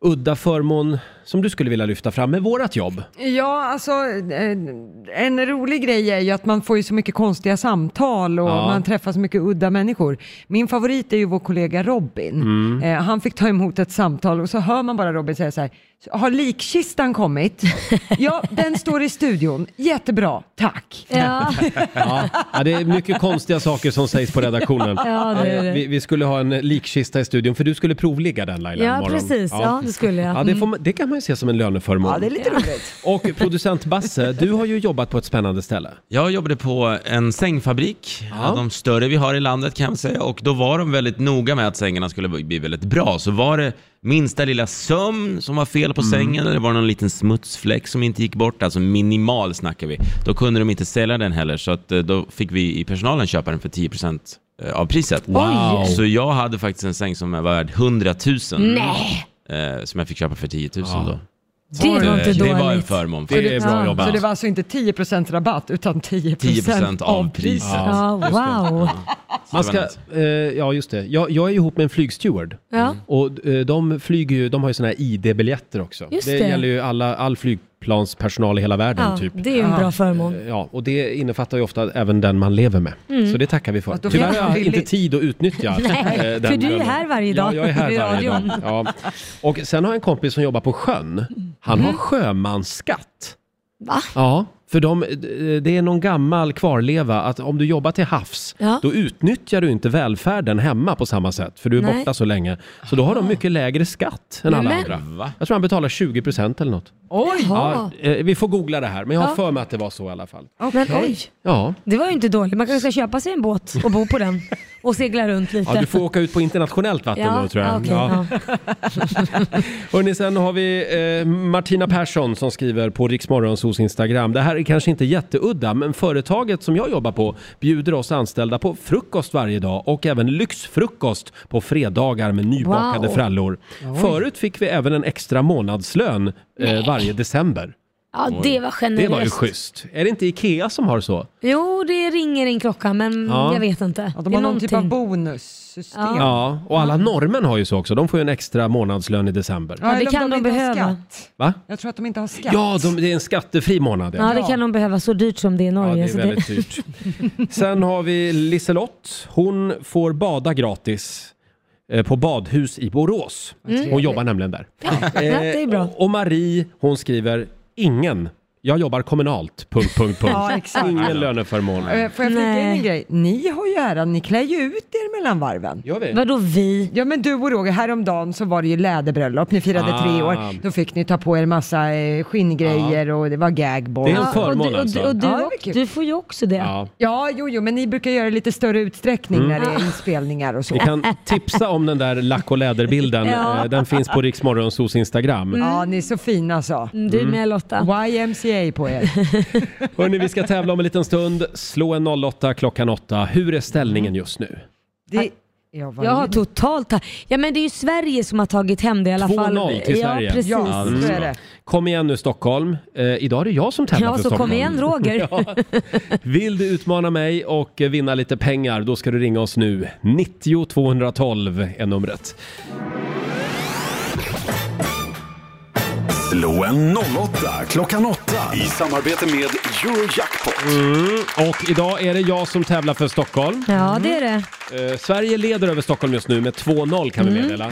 Speaker 1: udda förmån som du skulle vilja lyfta fram med vårat jobb?
Speaker 3: Ja, alltså eh, en rolig grej är ju att man får ju så mycket konstiga samtal och
Speaker 1: Ja.
Speaker 3: man träffar så mycket udda människor. Min favorit är ju vår kollega Robin. Eh, han fick ta emot ett samtal och så hör man bara Robin säga så här, har likkistan kommit? ja, den står i studion. Jättebra, tack.
Speaker 2: Ja,
Speaker 1: Ja, ja, det är mycket konstiga saker som sägs på redaktionen.
Speaker 2: Ja, det är det.
Speaker 1: Eh, Vi, vi skulle ha en likkista i studion för du skulle provligga den Laila
Speaker 2: ja
Speaker 1: imorgon.
Speaker 2: precis. Ja, det skulle
Speaker 1: Ja,
Speaker 2: jag. Mm.
Speaker 1: det, får man, det kan man ju se som en löneförmån.
Speaker 3: Ja, det är lite roligt.
Speaker 1: Och producent Basse, du har ju jobbat på ett spännande ställe.
Speaker 7: Jag jobbade på en sängfabrik, av de större vi har i landet kan man säga, och då var de väldigt noga med att sängarna skulle bli väldigt bra. Så var det minsta lilla sömn som var fel på sängen, eller var det någon liten smutsfläck som inte gick bort, alltså minimal snackar vi, då kunde de inte sälja den heller, så att eh, då fick vi i personalen köpa den för 10% av priset.
Speaker 1: Wow.
Speaker 7: Så jag hade faktiskt en säng som var värd 100 000,
Speaker 2: Nej,
Speaker 7: eh, som jag fick köpa för 10 000 då.
Speaker 2: det var inte
Speaker 7: Eh, det var en
Speaker 2: dåligt.
Speaker 7: förmån.
Speaker 1: Det är bra
Speaker 2: Ja,
Speaker 1: jobbat.
Speaker 3: Så det var alltså inte 10% rabatt utan 10%,
Speaker 7: 10% av priset.
Speaker 2: Ja, wow.
Speaker 1: Man ska, eh, ja just det. Jag, jag är ju ihop med en flygsteward.
Speaker 2: Ja.
Speaker 1: Och eh, de flyger ju, de har ju såna här ID-biljetter också.
Speaker 2: Just
Speaker 1: det,
Speaker 2: det.
Speaker 1: gäller ju alla, all flygplanspersonal i hela världen
Speaker 2: Ja,
Speaker 1: typ.
Speaker 2: det är ju en bra förmån.
Speaker 1: Ja, och det innefattar ju ofta även den man lever med. Så det tackar vi för.
Speaker 3: Att då
Speaker 1: Tyvärr
Speaker 3: får
Speaker 1: har
Speaker 3: man
Speaker 1: jag
Speaker 3: billigt.
Speaker 1: inte tid att utnyttja
Speaker 2: Nej,
Speaker 1: eh, den
Speaker 2: för du är ju
Speaker 1: lönen.
Speaker 2: här varje
Speaker 1: Ja,
Speaker 2: dag
Speaker 1: jag är här
Speaker 2: i
Speaker 1: varje dag.
Speaker 2: radion.
Speaker 1: Ja. Och sen har jag en kompis som jobbar på sjön. Han har sjömansskatt.
Speaker 2: Mm. Va?
Speaker 1: Ja, för de, eh, det är någon gammal kvarleva att om du jobbar till havs,
Speaker 2: Ja.
Speaker 1: då utnyttjar du inte välfärden hemma på samma sätt, för du är
Speaker 2: Nej.
Speaker 1: borta så länge. Så då har de mycket lägre skatt än alla
Speaker 2: Men-
Speaker 1: andra.
Speaker 7: Va?
Speaker 1: Jag tror han betalar 20% eller något.
Speaker 3: Oj!
Speaker 2: Jaha.
Speaker 1: Ja, eh, vi får googla det här, men jag har
Speaker 2: Ja.
Speaker 1: för mig att det var så i alla fall.
Speaker 2: Men oj,
Speaker 1: Ja.
Speaker 2: det var ju inte dåligt. Man kanske ska köpa sig en båt och bo på den och segla runt lite.
Speaker 1: Ja, du får åka ut på internationellt vatten
Speaker 2: Ja,
Speaker 1: då tror jag.
Speaker 2: okej,
Speaker 1: ja.
Speaker 2: ja.
Speaker 1: Hörrni, sen har vi eh, Martina Persson som skriver på Riksmorgonsos Instagram. Det här är kanske inte jätteudda, men företaget som jag jobbar på bjuder oss anställda på frukost varje dag och även lyxfrukost på fredagar med nybakade
Speaker 2: Wow.
Speaker 1: frallor. Förut fick vi även en extra månadslön eh, varje december.
Speaker 2: Ja, det var generöst.
Speaker 1: Det var ju schysst. Är det inte Ikea som har så?
Speaker 2: Jo, det ringer en klocka, men
Speaker 1: Ja.
Speaker 2: jag vet inte.
Speaker 3: Ja,
Speaker 2: det
Speaker 3: de
Speaker 2: är
Speaker 3: har någon typ av
Speaker 2: någonting.
Speaker 3: bonussystem.
Speaker 2: Ja.
Speaker 1: Ja, och alla norrmän har ju så också. De får ju en extra månadslön i december.
Speaker 2: Ja, det
Speaker 3: eller om
Speaker 2: kan de
Speaker 3: inte har
Speaker 2: behöva.
Speaker 3: skatt.
Speaker 1: Va?
Speaker 3: Jag tror att de inte har skatt.
Speaker 1: Ja, de, det är en skattefri månad.
Speaker 2: Ja, det kan de behöva så dyrt som alltså, det är i
Speaker 1: Ja,
Speaker 2: Norge.
Speaker 1: det är
Speaker 2: så
Speaker 1: väldigt dyrt. Sen har vi Liselott. Hon får bada gratis. eh, på badhus i Borås. Hon jobbar nämligen där.
Speaker 2: Ja,
Speaker 1: Eh,
Speaker 2: det är bra.
Speaker 1: Och Marie, hon skriver ingen. Jag jobbar kommunalt, punkt, punkt, punkt.
Speaker 3: Ja, exakt.
Speaker 1: Ingen löneförmån.
Speaker 3: Eh, Får jag flika in
Speaker 2: Nej.
Speaker 3: en grej? Ni har ju äran, ni klär ju ut er mellan varven.
Speaker 1: Gör vi?
Speaker 2: Vadå vi?
Speaker 3: Ja men du och Roger, häromdagen så var det ju läderbröllop, ni firade
Speaker 1: Ah.
Speaker 3: tre år. Då fick ni ta på er massa eh, skinngrejer och det var gagboard.
Speaker 1: Det är en
Speaker 2: Ja, och
Speaker 1: förmån
Speaker 2: du, och du,
Speaker 1: alltså.
Speaker 2: och du,
Speaker 3: Ja, det är
Speaker 2: och,
Speaker 3: kul.
Speaker 2: du får ju också det.
Speaker 1: Ja.
Speaker 3: Ja, jo, jo, men ni brukar göra det i lite större utsträckning
Speaker 1: Mm.
Speaker 3: när det är inspelningar och så.
Speaker 1: Vi kan tipsa om den där lack och läderbilden.
Speaker 2: Ja.
Speaker 1: Eh, Den finns på Riksmorgonsos Instagram.
Speaker 3: Ja, ni är så fina så.
Speaker 2: Mm, Du med Lotta.
Speaker 3: YMCA på er.
Speaker 1: Hörni, vi ska tävla om en liten stund. Slå en 08 klockan 8. Hur är ställningen just nu?
Speaker 3: Det, ja, vad
Speaker 2: Jag
Speaker 3: är
Speaker 2: har
Speaker 3: det?
Speaker 2: totalt ta- Ja men det är ju Sverige som har tagit hem det i alla fall.
Speaker 1: 2-0 till
Speaker 2: ja,
Speaker 1: Sverige.
Speaker 2: Precis.
Speaker 3: Ja,
Speaker 2: Ja,
Speaker 1: Mm.
Speaker 3: så är det.
Speaker 1: Kom igen nu Stockholm. Eh, idag är det jag som tävlar för
Speaker 2: så
Speaker 1: Stockholm.
Speaker 2: kom igen Roger.
Speaker 1: Ja. Vill du utmana mig och eh, vinna lite pengar, då ska du ringa oss nu. 90 212 är numret.
Speaker 4: Slå en 08 klockan 8 i samarbete med Eurojackpot.
Speaker 1: Och idag är det jag som tävlar för Stockholm.
Speaker 2: Ja det är det.
Speaker 1: Eh, Sverige leder över Stockholm just nu med 2-0 kan vi
Speaker 2: Mm.
Speaker 1: meddela.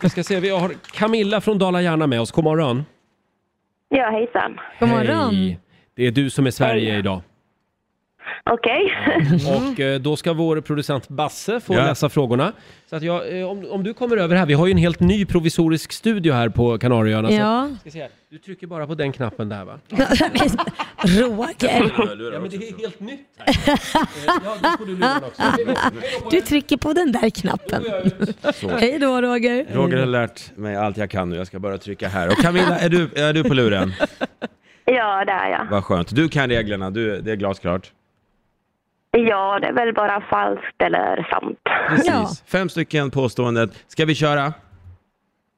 Speaker 1: Vi ska se, vi har Camilla från Dala-Järna med oss. God morgon.
Speaker 5: Ja, hejsan.
Speaker 2: God morgon.
Speaker 1: Hej. Det är du som är Sverige
Speaker 5: Hej.
Speaker 1: idag.
Speaker 5: Okej.
Speaker 2: Mm.
Speaker 1: Och eh, då ska vår producent Basse få
Speaker 7: Ja.
Speaker 1: läsa frågorna. Så att jag, eh, om, om du kommer över här, vi har ju en helt ny provisorisk studio här på Kanarieöarna. så-
Speaker 2: Ja.
Speaker 1: Ska se här. Du trycker bara på den knappen där va?
Speaker 2: Roger,
Speaker 1: Ja men det är helt nytt här. Eh, ja, då får du luren också.
Speaker 2: du trycker på den där knappen. Hej då Roger.
Speaker 7: Roger har lärt mig allt jag kan nu, jag ska bara trycka här. Och Camilla, är du, är du på luren?
Speaker 5: Ja, där ja.
Speaker 7: Vad skönt. Du kan reglerna, du, det är glasklart.
Speaker 5: Ja, det är väl bara falskt eller sant.
Speaker 7: Precis.
Speaker 2: Ja.
Speaker 7: Fem stycken påståenden. Ska vi köra?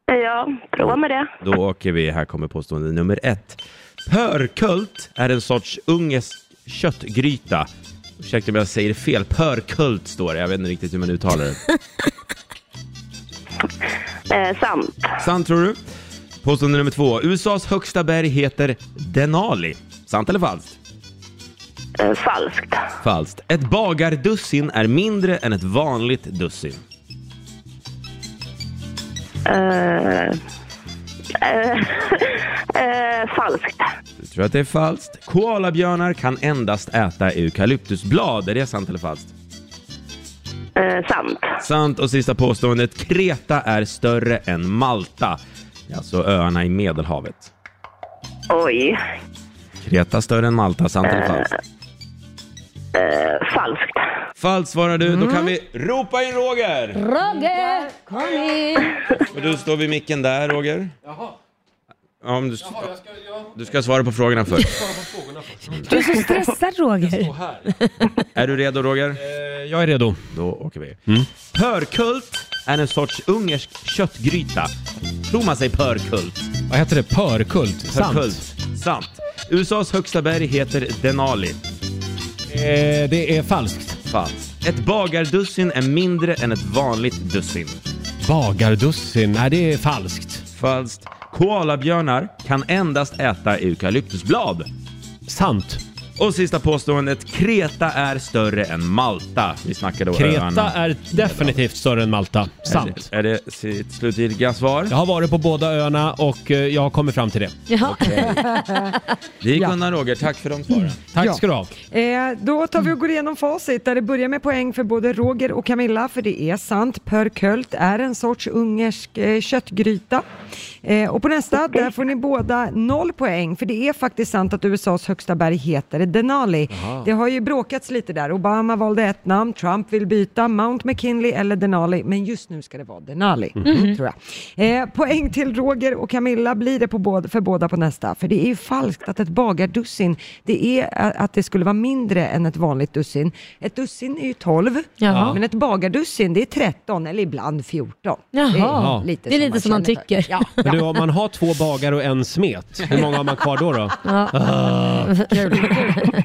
Speaker 5: Ja, prova med det.
Speaker 7: Då åker vi. Här kommer påstående nummer ett. Pörkult är en sorts ungersk köttgryta. Ursäkta om jag säger fel. Pörkult står det. Jag vet inte riktigt hur man uttalar det.
Speaker 5: Eh, sant.
Speaker 7: Sant tror du? Påstående nummer två. USAs högsta berg heter Denali. Sant eller falskt?
Speaker 5: Eh, falskt.
Speaker 7: Falskt. Ett bagardussin är mindre än ett vanligt dussin.
Speaker 5: Eh, eh, eh, falskt.
Speaker 7: Du tror att det är falskt. Koalabjörnar kan endast äta eukalyptusblad. Är det sant eller falskt?
Speaker 5: Eh, sant.
Speaker 7: Sant och sista påståendet. Kreta är större än Malta. Det är Alltså öarna i Medelhavet.
Speaker 5: Oj.
Speaker 7: Kreta större än Malta, sant eller falskt?
Speaker 5: Eh, falskt.
Speaker 7: Falskt svarar du, då kan vi ropa in Roger!
Speaker 2: Mm. Roger, kom in.
Speaker 7: Och du står vid micken där Roger. Jaha. Ja, men du, du ska svara på frågorna först.
Speaker 2: Du är så stressad Roger.
Speaker 7: är du redo Roger?
Speaker 1: Eh, Jag är redo.
Speaker 7: Då åker vi.
Speaker 1: Mm.
Speaker 7: Pörkult är en sorts ungersk köttgryta. Tror man sig pörkult?
Speaker 1: Vad heter det? Pörkult? Sant.
Speaker 7: Pörkult. Sant. USAs högsta berg heter Denali.
Speaker 1: Eh, det är falskt.
Speaker 7: Falskt. Ett bagardussin är mindre än ett vanligt dussin.
Speaker 1: Bagardussin? Nej, det är falskt.
Speaker 7: Falskt. Koalabjörnar kan endast äta eukalyptusblad.
Speaker 1: Sant.
Speaker 7: Och sista påståendet. Kreta är större än Malta. Vi snackar då
Speaker 1: Kreta
Speaker 7: öarna.
Speaker 1: är definitivt större än Malta. Sant.
Speaker 7: Är det sitt slutgiltiga svar?
Speaker 1: Jag har varit på båda öarna och eh, jag har kommit fram till det.
Speaker 2: Ja.
Speaker 7: Det gick undan Roger. Tack för de svaren.
Speaker 1: Tack
Speaker 3: Ja.
Speaker 1: ska du ha.
Speaker 3: Eh, då tar vi och går igenom facit där det börjar med poäng för både Roger och Camilla för det är sant. Pörkölt är en sorts ungersk eh, köttgryta. Eh, och på nästa, där får ni båda noll poäng för det är faktiskt sant att USAs högsta berg heter Denali. Det har ju bråkats lite där. Obama valde ett namn, Trump vill byta, Mount McKinley eller Denali. Men just nu ska det vara Denali,
Speaker 2: Mhm.
Speaker 3: tror jag. Eh, poäng till Roger och Camilla blir det på båda, för båda på nästa. För det är ju falskt att ett bagardussin, det är eh, att det skulle vara mindre än ett vanligt dussin. Ett dussin är ju 12,
Speaker 2: Jaha.
Speaker 3: men ett bagardussin det är 13 eller ibland 14. Det är
Speaker 2: Jaha.
Speaker 3: lite
Speaker 2: Det är
Speaker 3: som
Speaker 2: lite som man
Speaker 3: känner för.
Speaker 2: tycker.
Speaker 3: Ja, ja.
Speaker 1: Men du, om man har två bagare och en smet, hur många har man kvar då? då?
Speaker 2: Ja.
Speaker 1: Ah.
Speaker 3: Kul.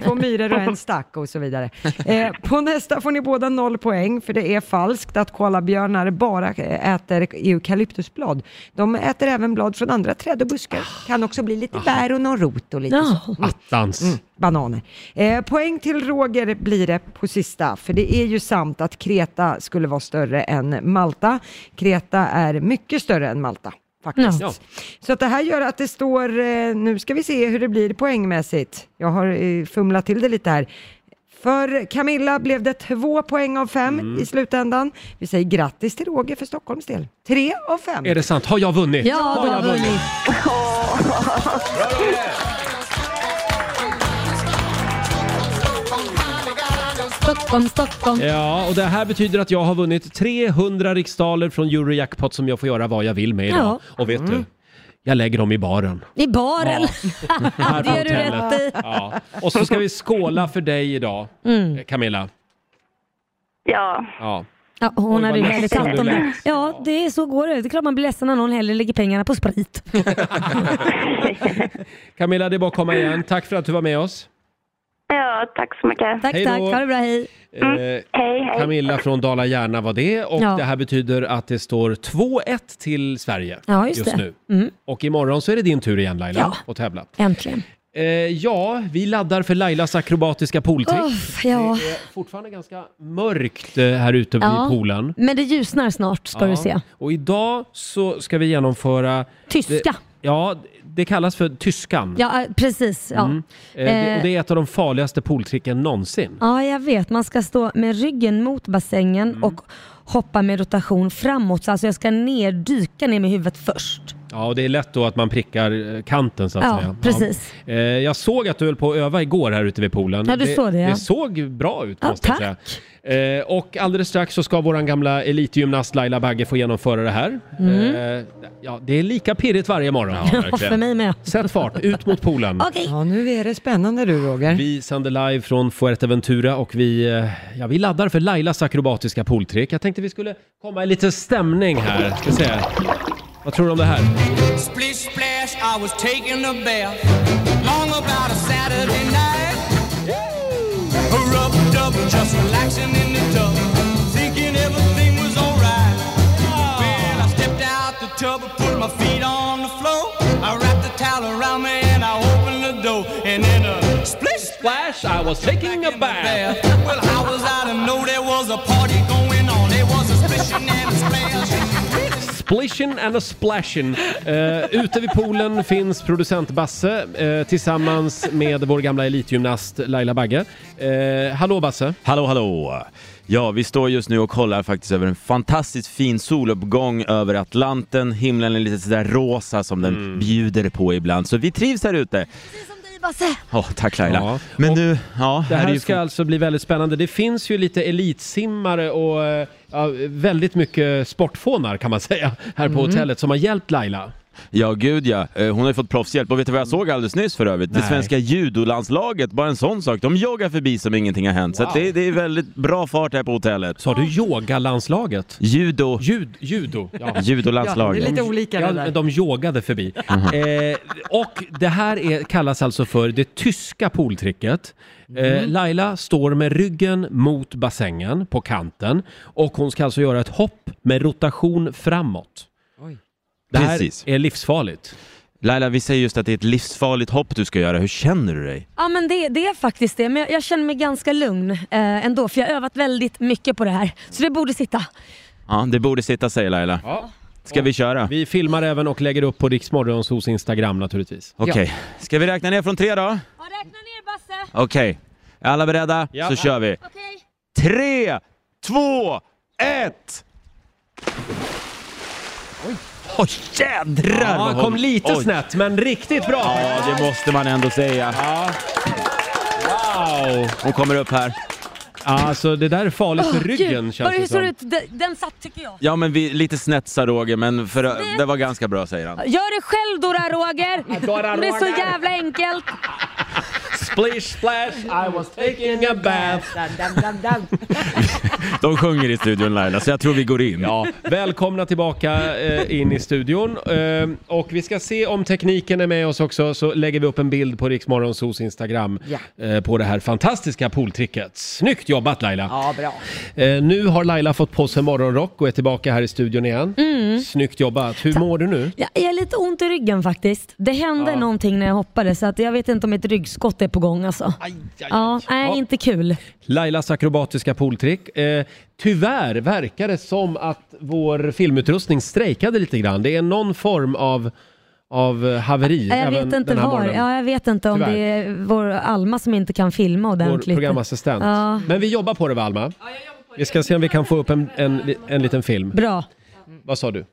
Speaker 3: Två myror och en stack och så vidare. Eh, på nästa får ni båda noll poäng, för det är falskt att koalabjörnar bara eh, äter eukalyptusblad. De äter även blad från andra träd och buskar. Kan också bli lite bär och någon rot och lite så.
Speaker 2: Ja.
Speaker 1: Attans.
Speaker 3: Mm, bananer. Eh, poäng till Roger blir det på sista, för det är ju sant att Kreta skulle vara större än Malta. Kreta är mycket större än Malta. Faktiskt.
Speaker 1: Ja.
Speaker 3: Så att det här gör att det står, eh, nu ska vi se hur det blir poängmässigt. Jag har eh, fumlat till det lite här. För Camilla blev det två poäng av fem
Speaker 1: Mm.
Speaker 3: i slutändan. Vi säger grattis till Roger för Stockholms del. Tre av fem.
Speaker 1: Är det sant? Har jag vunnit?
Speaker 2: Ja, du har vunnit. Stockholm, Stockholm.
Speaker 1: Ja, och det här betyder att jag har vunnit 300 riksdaler från Eurojackpot som jag får göra vad jag vill med idag. Och vet
Speaker 2: Mm.
Speaker 1: du? Jag lägger dem i baren.
Speaker 2: I baren.
Speaker 1: Här på
Speaker 2: Det gör du
Speaker 1: hotellet.
Speaker 2: rätt i.
Speaker 1: Ja. Och så ska vi skåla för dig idag,
Speaker 2: Mm.
Speaker 1: eh, Camilla.
Speaker 5: Ja,
Speaker 1: Ja.
Speaker 2: Ja, hon
Speaker 1: Oj,
Speaker 2: hade ju
Speaker 1: vad
Speaker 2: väldigt
Speaker 1: ledsen
Speaker 2: allt
Speaker 1: du
Speaker 2: om det.
Speaker 1: lät.
Speaker 2: Ja, det är så går det. Det är klart man blir ledsen när någon hellre lägger pengarna på sprit.
Speaker 1: Camilla, det är bara att komma igen. Tack för att du var med oss.
Speaker 5: ja tack så mycket.
Speaker 2: Tack,
Speaker 1: Hej
Speaker 2: tack.
Speaker 1: då.
Speaker 2: Ha det bra, hej.
Speaker 1: Eh,
Speaker 5: Hej, hej.
Speaker 1: Camilla från Dala Järna var det och
Speaker 2: Mm. Ja.
Speaker 1: det här betyder att det står 2-1 till Sverige
Speaker 2: Ja, just det. Mm.
Speaker 1: nu. Och imorgon så är det din tur igen Laila
Speaker 2: Ja.
Speaker 1: att tävla.
Speaker 2: Äntligen.
Speaker 1: Eh, ja, vi laddar för Lailas akrobatiska pooltrick.
Speaker 2: Uff, ja.
Speaker 1: Det är fortfarande ganska mörkt eh, här ute
Speaker 2: Ja.
Speaker 1: vid poolen.
Speaker 2: Men det ljusnar snart ska du se.
Speaker 1: Och idag så ska vi genomföra...
Speaker 2: Tyska.
Speaker 1: Det, ja, det kallas för tyskan.
Speaker 2: Ja, eh, precis. Ja.
Speaker 1: Eh, det, och
Speaker 2: Eh.
Speaker 1: det är ett av de farligaste pooltricken någonsin.
Speaker 2: ja, jag vet. Man ska stå med ryggen mot bassängen
Speaker 1: Mm.
Speaker 2: och hoppa med rotation framåt. Så Alltså jag ska ner, dyka ner med huvudet först.
Speaker 1: Ja, och det är lätt då att man prickar eh, kanten så att
Speaker 2: Ja,
Speaker 1: säga.
Speaker 2: precis.
Speaker 1: Ja. Eh, jag såg att du höll på att öva igår här ute vid poolen.
Speaker 2: Ja, du
Speaker 1: det,
Speaker 2: såg det, ja.
Speaker 1: det såg bra ut
Speaker 2: Ja,
Speaker 1: måste jag säga.
Speaker 2: tack.
Speaker 1: Eh, och alldeles strax så ska våran gamla elitgymnast Laila Bagge få genomföra det här. Eh, ja, det är lika pirrigt varje morgon.
Speaker 2: Mm. Ja, för mig med.
Speaker 1: Sätt fart, ut mot poolen.
Speaker 2: Okej.
Speaker 3: Ja, nu är det spännande du Roger.
Speaker 1: Vi sänder live från Fuerteventura och vi, eh, ja, vi laddar för Lailas akrobatiska pooltrick. Jag tänkte vi skulle komma i lite stämning här. Ska se. Vad tror du om det här?
Speaker 10: Splish splash, I was taking a bath. Long about a Saturday night. Rubbed up, just relaxing in the tub. Thinking everything was alright. Well, I stepped out the tub, put my feet on the floor. I wrapped the towel around me and I opened the door. And then a splish
Speaker 1: Flash, I was taking a bath.
Speaker 10: bath. Well, I was out and know there was a party going on. There was a splishing and a splash.
Speaker 1: Splishin and a splashin. Uh, ute vid poolen finns producent Basse eh, tillsammans med vår gamla elitgymnast Laila Bagge. Eh, hallå Basse!
Speaker 7: Hallå, hallå! Ja, vi står just nu och kollar faktiskt över en fantastiskt fin soluppgång över Atlanten. Himlen är lite sådär rosa som den
Speaker 1: Mm.
Speaker 7: bjuder på ibland, så vi trivs här ute.
Speaker 2: Precis som dig Basse.
Speaker 7: Åh, tack Laila.
Speaker 1: Ja,
Speaker 7: Men
Speaker 1: och
Speaker 7: nu, ja,
Speaker 1: Det
Speaker 7: här är
Speaker 1: här
Speaker 7: ju
Speaker 1: ska alltså bli väldigt spännande. Det finns ju lite elitsimmare och eh, ja, väldigt mycket sportfånar kan man säga här på hotellet som har hjälpt Laila.
Speaker 7: Ja, gud ja. Eh, Hon har ju fått proffshjälp. Och vet du vad jag såg alldeles nyss för övrigt?
Speaker 1: Nej.
Speaker 7: Det svenska judolandslaget, bara en sån sak. De joggar förbi som ingenting har hänt. Så att det, det är väldigt bra fart här på hotellet.
Speaker 1: Sa du yogalandslaget?
Speaker 7: Judo,
Speaker 1: Jud, judo? Ja.
Speaker 3: Ja, det är
Speaker 7: judolandslaget.
Speaker 3: lite olika
Speaker 1: Ja,
Speaker 3: det där.
Speaker 1: men de yogade förbi. Eh, och det här är, kallas alltså för det tyska pooltricket. Eh, Laila står med ryggen mot bassängen på kanten och hon ska alltså göra ett hopp med rotation framåt.
Speaker 3: Oj.
Speaker 1: Det här
Speaker 7: Precis.
Speaker 1: är livsfarligt.
Speaker 7: Laila, vi säger just att det är ett livsfarligt hopp du ska göra. Hur känner du dig?
Speaker 2: Ja men det, det är faktiskt det, men jag, jag känner mig ganska lugn eh, ändå för jag har övat väldigt mycket på det här. Så det borde sitta.
Speaker 7: Ja, det borde sitta säger Laila. Ska vi köra?
Speaker 1: Vi filmar även och lägger upp på Rix Morgonzos Instagram naturligtvis.
Speaker 7: Okej. Ska vi räkna ner från tre då?
Speaker 2: Ja, räkna ner Basse.
Speaker 7: Okej. Är alla beredda?
Speaker 1: Ja.
Speaker 7: Så kör vi.
Speaker 2: Okej.
Speaker 7: Tre, två, ett! Oj, jädrar! vad
Speaker 1: Ja,
Speaker 7: hon-
Speaker 1: kom lite
Speaker 7: Oj.
Speaker 1: snett men riktigt bra!
Speaker 7: Ja, det måste man ändå säga.
Speaker 1: Wow!
Speaker 7: Hon kommer upp här.
Speaker 1: Alltså det där är farligt för ryggen känns
Speaker 2: Hur
Speaker 1: det
Speaker 2: ser
Speaker 1: som.
Speaker 2: det ut? Den, den satt tycker jag.
Speaker 7: Ja, men vi, lite snett sa Roger, men för, det var ganska bra säger han.
Speaker 2: Gör det själv Dora Roger!
Speaker 1: Dora
Speaker 2: Det är så
Speaker 1: Roger.
Speaker 2: jävla enkelt.
Speaker 1: Splish splash, I was taking a bath.
Speaker 7: De sjunger i studion Laila, så jag tror vi går in.
Speaker 1: Ja, välkomna tillbaka eh, in i studion. Eh, och vi ska se om tekniken är med oss också, så lägger vi upp en bild på Riksmorgonsos Instagram
Speaker 3: Ja.
Speaker 1: eh, på det här fantastiska pooltricket. Snyggt jobbat Laila!
Speaker 3: Ja, bra.
Speaker 1: Eh, nu har Laila fått på sig morgonrock och är tillbaka här i studion igen.
Speaker 3: Mm.
Speaker 1: Snyggt jobbat! Hur mår du nu?
Speaker 2: Ja, jag har lite ont i ryggen faktiskt. Det hände
Speaker 1: Ja.
Speaker 2: någonting när jag hoppade så att jag vet inte om ett ryggskott är på gång alltså. Ja, nej,
Speaker 1: Ja.
Speaker 2: inte kul.
Speaker 1: Lailas akrobatiska pooltrick. Eh, tyvärr verkar det som att vår filmutrustning strejkade lite grann. Det är någon form av, av haveri.
Speaker 2: Nej, Jag
Speaker 1: även
Speaker 2: vet inte
Speaker 1: den här
Speaker 2: var.
Speaker 1: morgonen.
Speaker 2: Ja, jag vet inte om
Speaker 1: Tyvärr.
Speaker 2: det är vår Alma som inte kan filma
Speaker 1: Vår
Speaker 2: ordentligt.
Speaker 1: programassistent.
Speaker 2: Ja.
Speaker 1: Men vi jobbar på det Valma. Vi ska se om vi kan få upp en, en, en liten film.
Speaker 2: Bra.
Speaker 1: Vad sa du?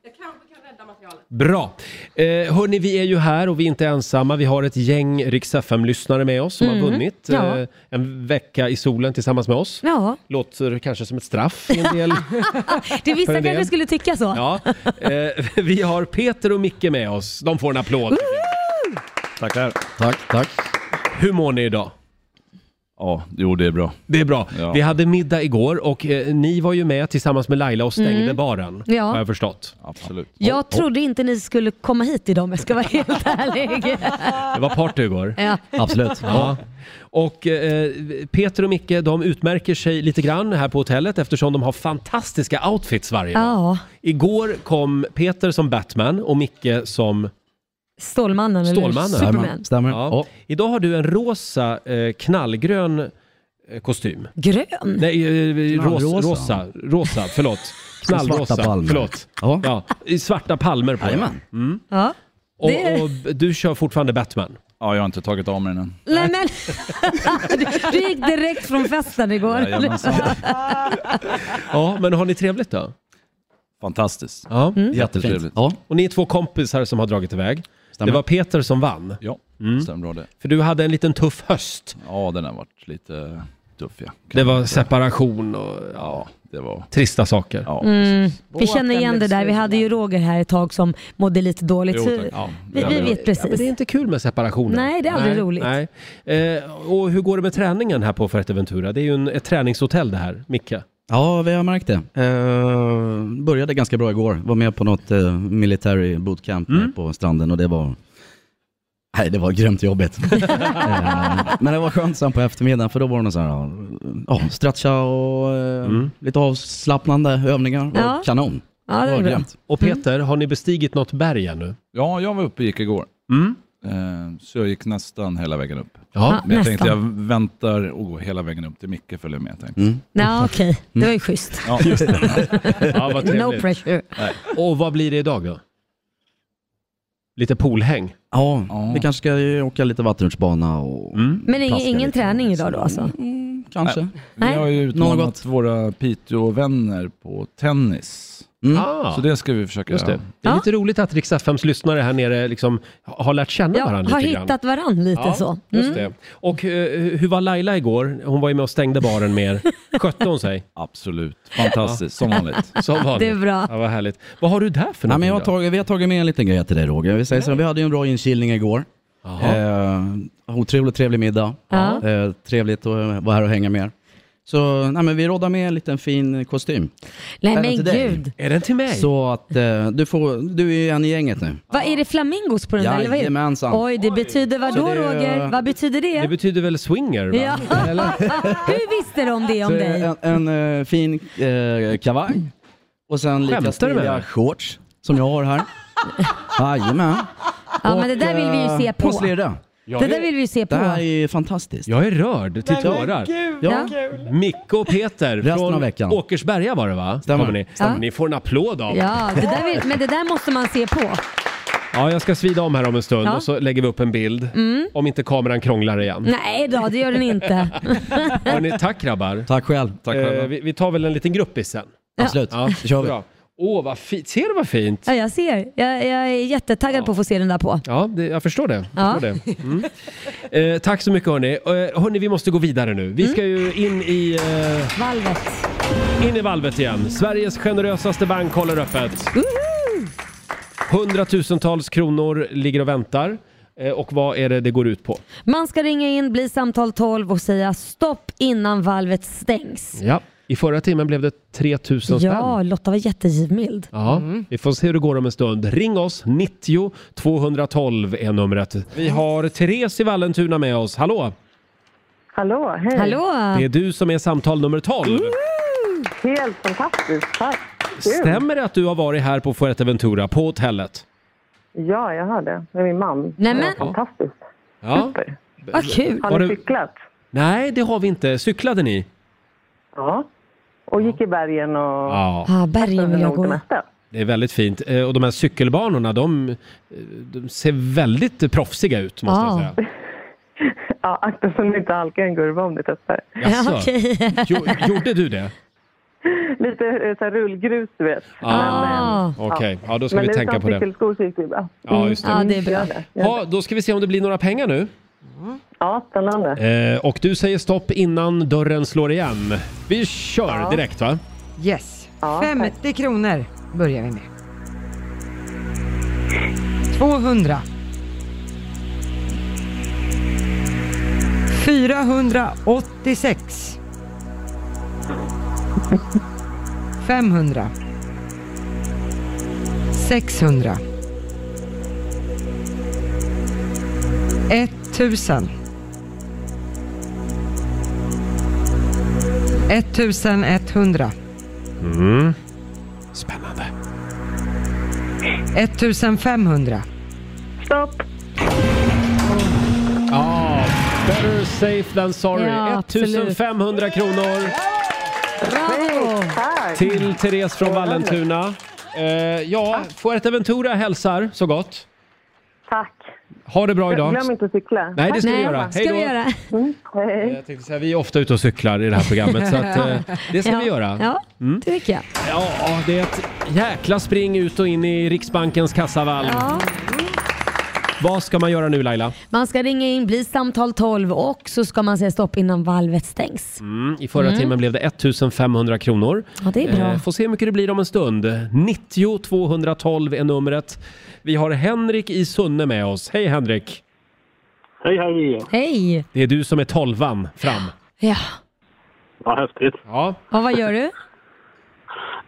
Speaker 1: Bra! Eh, hörni, vi är ju här och vi är inte ensamma. Vi har ett gäng Rix lyssnare med oss som
Speaker 2: Mm,
Speaker 1: har vunnit
Speaker 2: ja.
Speaker 1: eh, en vecka i solen tillsammans med oss.
Speaker 2: Ja,
Speaker 1: Låter kanske som ett straff i en del.
Speaker 2: det
Speaker 1: För
Speaker 2: vissa
Speaker 1: en del.
Speaker 2: kanske skulle tycka så.
Speaker 1: Ja. Eh, vi har Peter och Micke med oss. De får en applåd.
Speaker 11: Tackar.
Speaker 1: Tack, tack. Hur mår ni idag?
Speaker 11: Ja, jo det är bra.
Speaker 1: Det är bra.
Speaker 11: Ja.
Speaker 1: Vi hade middag igår och eh, ni var ju med tillsammans med Laila och stängde
Speaker 2: Mm.
Speaker 1: baren.
Speaker 2: Ja.
Speaker 1: Har jag förstått.
Speaker 11: Absolut.
Speaker 2: Jag trodde inte ni skulle komma hit idag om jag ska vara helt ärlig.
Speaker 1: Det var party igår.
Speaker 2: Ja.
Speaker 1: Absolut. Ja. Och eh, Peter och Micke, de utmärker sig lite grann här på hotellet eftersom de har fantastiska outfits varje dag.
Speaker 2: Ja,
Speaker 1: Igår kom Peter som Batman och Micke som
Speaker 2: Stålmannen,
Speaker 1: Stålmannen.
Speaker 2: eller Superman.
Speaker 1: Ja. Idag har du en rosa eh, knallgrön eh, kostym.
Speaker 2: Grön?
Speaker 1: Nej, eh, ros,
Speaker 11: Knallrosa.
Speaker 1: rosa. Rosa, förlåt. Knallrosa,
Speaker 11: Svarta palmer.
Speaker 1: förlåt. Ja. i svarta palmer på den. Mm.
Speaker 2: Ja.
Speaker 1: Och,
Speaker 2: Det-
Speaker 1: och du kör fortfarande Batman.
Speaker 11: Ja, jag har inte tagit av mig den än.
Speaker 2: Nej men, du, du gick direkt från festen igår.
Speaker 11: Jajamensan.
Speaker 1: Ja, men har ni trevligt då?
Speaker 11: Fantastiskt.
Speaker 1: Ja,
Speaker 11: Jättetrevligt. Ja.
Speaker 1: Och ni är två kompisar som har dragit iväg.
Speaker 11: Stämmer.
Speaker 1: Det var Peter som vann.
Speaker 11: Ja, stämmer bra det.
Speaker 1: För du hade en liten tuff höst.
Speaker 11: Ja, den har varit lite tuff ja.
Speaker 1: Det var separation och
Speaker 11: Ja,
Speaker 1: ja,
Speaker 11: det var...
Speaker 1: trista saker.
Speaker 11: Ja.
Speaker 2: Mm. Vi känner igen det där. Vi hade ju Roger här ett tag som mådde lite dåligt.
Speaker 11: Jo,
Speaker 2: Så
Speaker 11: tack. Typ. Ja,
Speaker 2: vi, vi vet
Speaker 1: Ja, men det är
Speaker 2: precis.
Speaker 1: inte kul med separationer.
Speaker 2: Nej, det är aldrig roligt.
Speaker 1: Nej. Eh, och hur går det med träningen här på Fuerteventura? Det är ju en, ett träningshotell det här, Micke.
Speaker 12: Ja, vi har märkt det. Eh, började ganska bra igår. Var med på något eh, military bootcamp här på stranden och det var... Nej, det var grymt jobbigt. Eh, men det var skönt sen på eftermiddagen för då var det så här, ja, ja, stretcha och eh,
Speaker 1: Mm.
Speaker 12: lite avslappnande övningar. Det var
Speaker 2: Ja.
Speaker 12: Kanon.
Speaker 2: Ja, det är bra.
Speaker 12: grymt.
Speaker 1: Och Peter, har ni bestigit något berg ännu?
Speaker 11: Ja, jag var uppe och gick igår.
Speaker 1: Mm.
Speaker 11: Eh, Så jag gick nästan hela vägen upp.
Speaker 1: Ja.
Speaker 11: Men jag
Speaker 2: Nästan.
Speaker 11: tänkte jag väntar och går hela vägen upp till Micke följer med. Tänkte.
Speaker 12: Mm.
Speaker 2: Nej, okej. Det var ju schysst.
Speaker 11: Ja, just det.
Speaker 1: ja, vad
Speaker 2: No
Speaker 1: trevligt.
Speaker 2: pressure.
Speaker 1: Och vad blir det idag då? Lite poolhäng?
Speaker 12: Ja,
Speaker 11: Ja.
Speaker 12: vi kanske ska ju åka lite vattenrutschbana och...
Speaker 1: Mm.
Speaker 2: Men ingen,
Speaker 12: Plaska
Speaker 2: ingen
Speaker 12: lite.
Speaker 2: träning idag då alltså?
Speaker 12: Mm, kanske.
Speaker 11: Vi har ju utmanat
Speaker 12: Något.
Speaker 11: våra Piteå-vänner på tennis.
Speaker 12: Mm.
Speaker 1: Ah.
Speaker 11: Så det ska vi försöka
Speaker 1: Just det.
Speaker 11: göra.
Speaker 1: Det är
Speaker 2: Ja.
Speaker 1: lite roligt att Rix FMs lyssnare här nere liksom har lärt känna
Speaker 2: Ja,
Speaker 1: varandra
Speaker 2: har
Speaker 1: lite grann.
Speaker 2: hittat varann lite så. Mm.
Speaker 1: Just det. Och eh, hur var Laila igår? Hon var ju med och stängde baren med er. Skötte hon sig?
Speaker 11: Absolut. Fantastiskt. Som vanligt.
Speaker 1: Som vanligt.
Speaker 2: Det är bra.
Speaker 1: Ja, vad härligt. Vad har du där för
Speaker 12: Nej,
Speaker 1: någonting
Speaker 12: men jag har
Speaker 1: då?
Speaker 12: tagit, vi har tagit med en liten grej till dig Roger. Vi, säger så, här, vi hade ju en bra inkilning igår.
Speaker 1: Jaha.
Speaker 12: Eh, otroligt trevlig middag.
Speaker 2: Ja.
Speaker 12: Eh, trevligt att vara här och hänga med er. Så nej, men vi råddar med en liten fin kostym.
Speaker 2: Nej
Speaker 12: Även
Speaker 2: men
Speaker 12: till dig.
Speaker 2: gud.
Speaker 1: Är den till mig?
Speaker 12: Så att eh, du, får, du är ju en i gänget nu.
Speaker 2: Vad är det flamingos på den där? eller vad är det?
Speaker 12: Jajamensan.
Speaker 2: Oj, det betyder vad
Speaker 12: Så
Speaker 2: då
Speaker 12: det är-
Speaker 2: Roger? Vad betyder det?
Speaker 1: Det betyder väl swinger? Va?
Speaker 2: ja. Hur visste de det om
Speaker 12: Så
Speaker 2: dig?
Speaker 12: en, en eh, fin eh, kavaj och sen
Speaker 1: Skämtar
Speaker 12: lika
Speaker 1: du med mig?
Speaker 12: stiliga shorts som jag har här. Jajamän.
Speaker 2: Ja men det där vill vi ju
Speaker 12: eh,
Speaker 2: se
Speaker 12: Och
Speaker 2: på.
Speaker 12: slirra.
Speaker 2: Det där vill vi ju se
Speaker 12: Det
Speaker 2: på.
Speaker 12: här är ju fantastiskt.
Speaker 1: Jag är rörd till tårar.
Speaker 12: Ja.
Speaker 1: Micke och Peter
Speaker 12: Resten
Speaker 1: från
Speaker 12: av veckan.
Speaker 1: Åkersberga var det va?
Speaker 12: Stämmer.
Speaker 1: Kommer Ni.
Speaker 2: Stämmer.
Speaker 1: ni får en applåd av ja.
Speaker 2: Ja, det där vill, men det där måste man se på.
Speaker 1: jag ska svida om här om en stund
Speaker 2: Ja.
Speaker 1: och så lägger vi upp en bild.
Speaker 12: Mm.
Speaker 1: Om inte kameran krånglar igen.
Speaker 2: Nej då, det gör den inte.
Speaker 1: Hörrni, tack grabbar.
Speaker 12: Tack själv. Tack
Speaker 1: Eh, vi, vi tar väl en liten gruppis sen.
Speaker 12: Absolut.
Speaker 1: Ja,
Speaker 12: Det kör vi.
Speaker 1: bra. Åh, vad fint. Ser du vad fint?
Speaker 2: Ja, jag ser. Jag, jag är jättetaggad på att få se den där på.
Speaker 1: Ja, det, jag förstår det. Jag
Speaker 2: Ja.
Speaker 1: förstår det. Mm. Eh, tack så mycket hörni. Eh, hörni, vi måste gå vidare nu. Vi ska ju in i, eh,
Speaker 2: Valvet.
Speaker 1: in i valvet igen. Sveriges generösaste bank håller öppet. Hundratusentals kronor ligger och väntar. Eh, Och vad är det det går ut på?
Speaker 2: Man ska ringa in, bli samtal 12 och säga stopp innan valvet stängs.
Speaker 1: Ja. I förra timmen blev det 3000 spänn.
Speaker 2: Ja, Lotta var jättegivmild.
Speaker 1: Ja,
Speaker 13: Mm.
Speaker 1: vi får se hur det går om en stund. Ring oss, 90 212 är numret. Vi har Therese i Vallentuna med oss. Hallå!
Speaker 13: Hallå, hej.
Speaker 2: Hallå!
Speaker 1: Det är du som är samtal nummer 12.
Speaker 13: Helt fantastiskt, tack. Mm, Kul.
Speaker 1: Stämmer det att du har varit här på Fuerteventura, på hotellet?
Speaker 13: Ja, jag har det. Med min man.
Speaker 2: Nej,
Speaker 13: Det var
Speaker 2: men-
Speaker 13: Fantastiskt.
Speaker 1: Ja.
Speaker 2: Vad kul.
Speaker 13: Har
Speaker 1: Var
Speaker 13: ni
Speaker 1: du-
Speaker 13: cyklat?
Speaker 1: Nej, det har vi inte. Cyklade ni?
Speaker 13: Ja. Och gick i bergen och...
Speaker 1: Ja.
Speaker 2: Ja, bergen Ah, vill jag
Speaker 13: Något
Speaker 2: gå.
Speaker 13: mesta.
Speaker 1: Det är väldigt fint. Eh, Och de här cykelbanorna, de, eh, de ser väldigt proffsiga ut måste jag
Speaker 13: Ja.
Speaker 1: säga.
Speaker 13: Ja, akta så ni inte halkar i en kurva om ni testar.
Speaker 1: Jaså? Ja, okej. Jo, gjorde du det?
Speaker 13: Lite eh, så här, rullgrus, du vet.
Speaker 1: Ah,
Speaker 13: Men, eh,
Speaker 1: okej. Ja, då ska
Speaker 13: Men
Speaker 1: vi tänka
Speaker 13: utan
Speaker 1: på det.
Speaker 13: cykelskor så gick det ju bra.
Speaker 9: Mm.
Speaker 1: Ja, just det. Mm.
Speaker 2: Ja, det är bra.
Speaker 13: Gör det.
Speaker 1: Ja, då ska vi se om det blir några pengar nu.
Speaker 13: Ja, spännande.
Speaker 1: Eh, och du säger stopp innan dörren slår igen. Vi kör
Speaker 3: Ja.
Speaker 1: direkt va?
Speaker 3: Yes. 50 kronor börjar vi med. 200. 486. 500. 600. 1000. 1100.
Speaker 1: Mm. Spännande.
Speaker 3: 1500.
Speaker 13: Stopp!
Speaker 1: Ja, better safe than sorry.
Speaker 13: Ja, absolut.
Speaker 1: 1500 kronor
Speaker 2: Bravo!
Speaker 13: Tack!
Speaker 1: till Therese från Vallentuna. Eh, ja, Fuerteventura hälsar så gott.
Speaker 13: Tack!
Speaker 1: Ha det bra idag.
Speaker 13: Glöm inte att cykla.
Speaker 1: Nej, det ska vi Nej, göra. ska Hej då. vi göra.
Speaker 13: Mm, hej.
Speaker 1: Jag tänkte säga, vi är ofta ute och cyklar i det här programmet så att, eh, det ska
Speaker 2: ja.
Speaker 1: vi göra.
Speaker 2: Ja,
Speaker 1: Mm.
Speaker 2: det tycker jag.
Speaker 1: Ja, det är ett jäkla spring ut och in i Riksbankens kassavalv.
Speaker 2: Ja.
Speaker 1: Vad ska man göra nu Laila?
Speaker 2: Man ska ringa in, bli samtal 12 och så ska man säga stopp innan valvet stängs.
Speaker 1: Mm, I förra
Speaker 2: Mm.
Speaker 1: timmen blev det 1500 kronor.
Speaker 2: Ja, det är bra.
Speaker 1: Eh, får se hur mycket det blir om en stund. 90 212 är numret. Vi har Henrik i Sunne med oss. Hej Henrik!
Speaker 14: Hej, hej!
Speaker 2: Hej!
Speaker 1: Det är du som är tolvan fram.
Speaker 2: Ja,
Speaker 14: Vad häftigt.
Speaker 1: Ja.
Speaker 2: och vad gör du?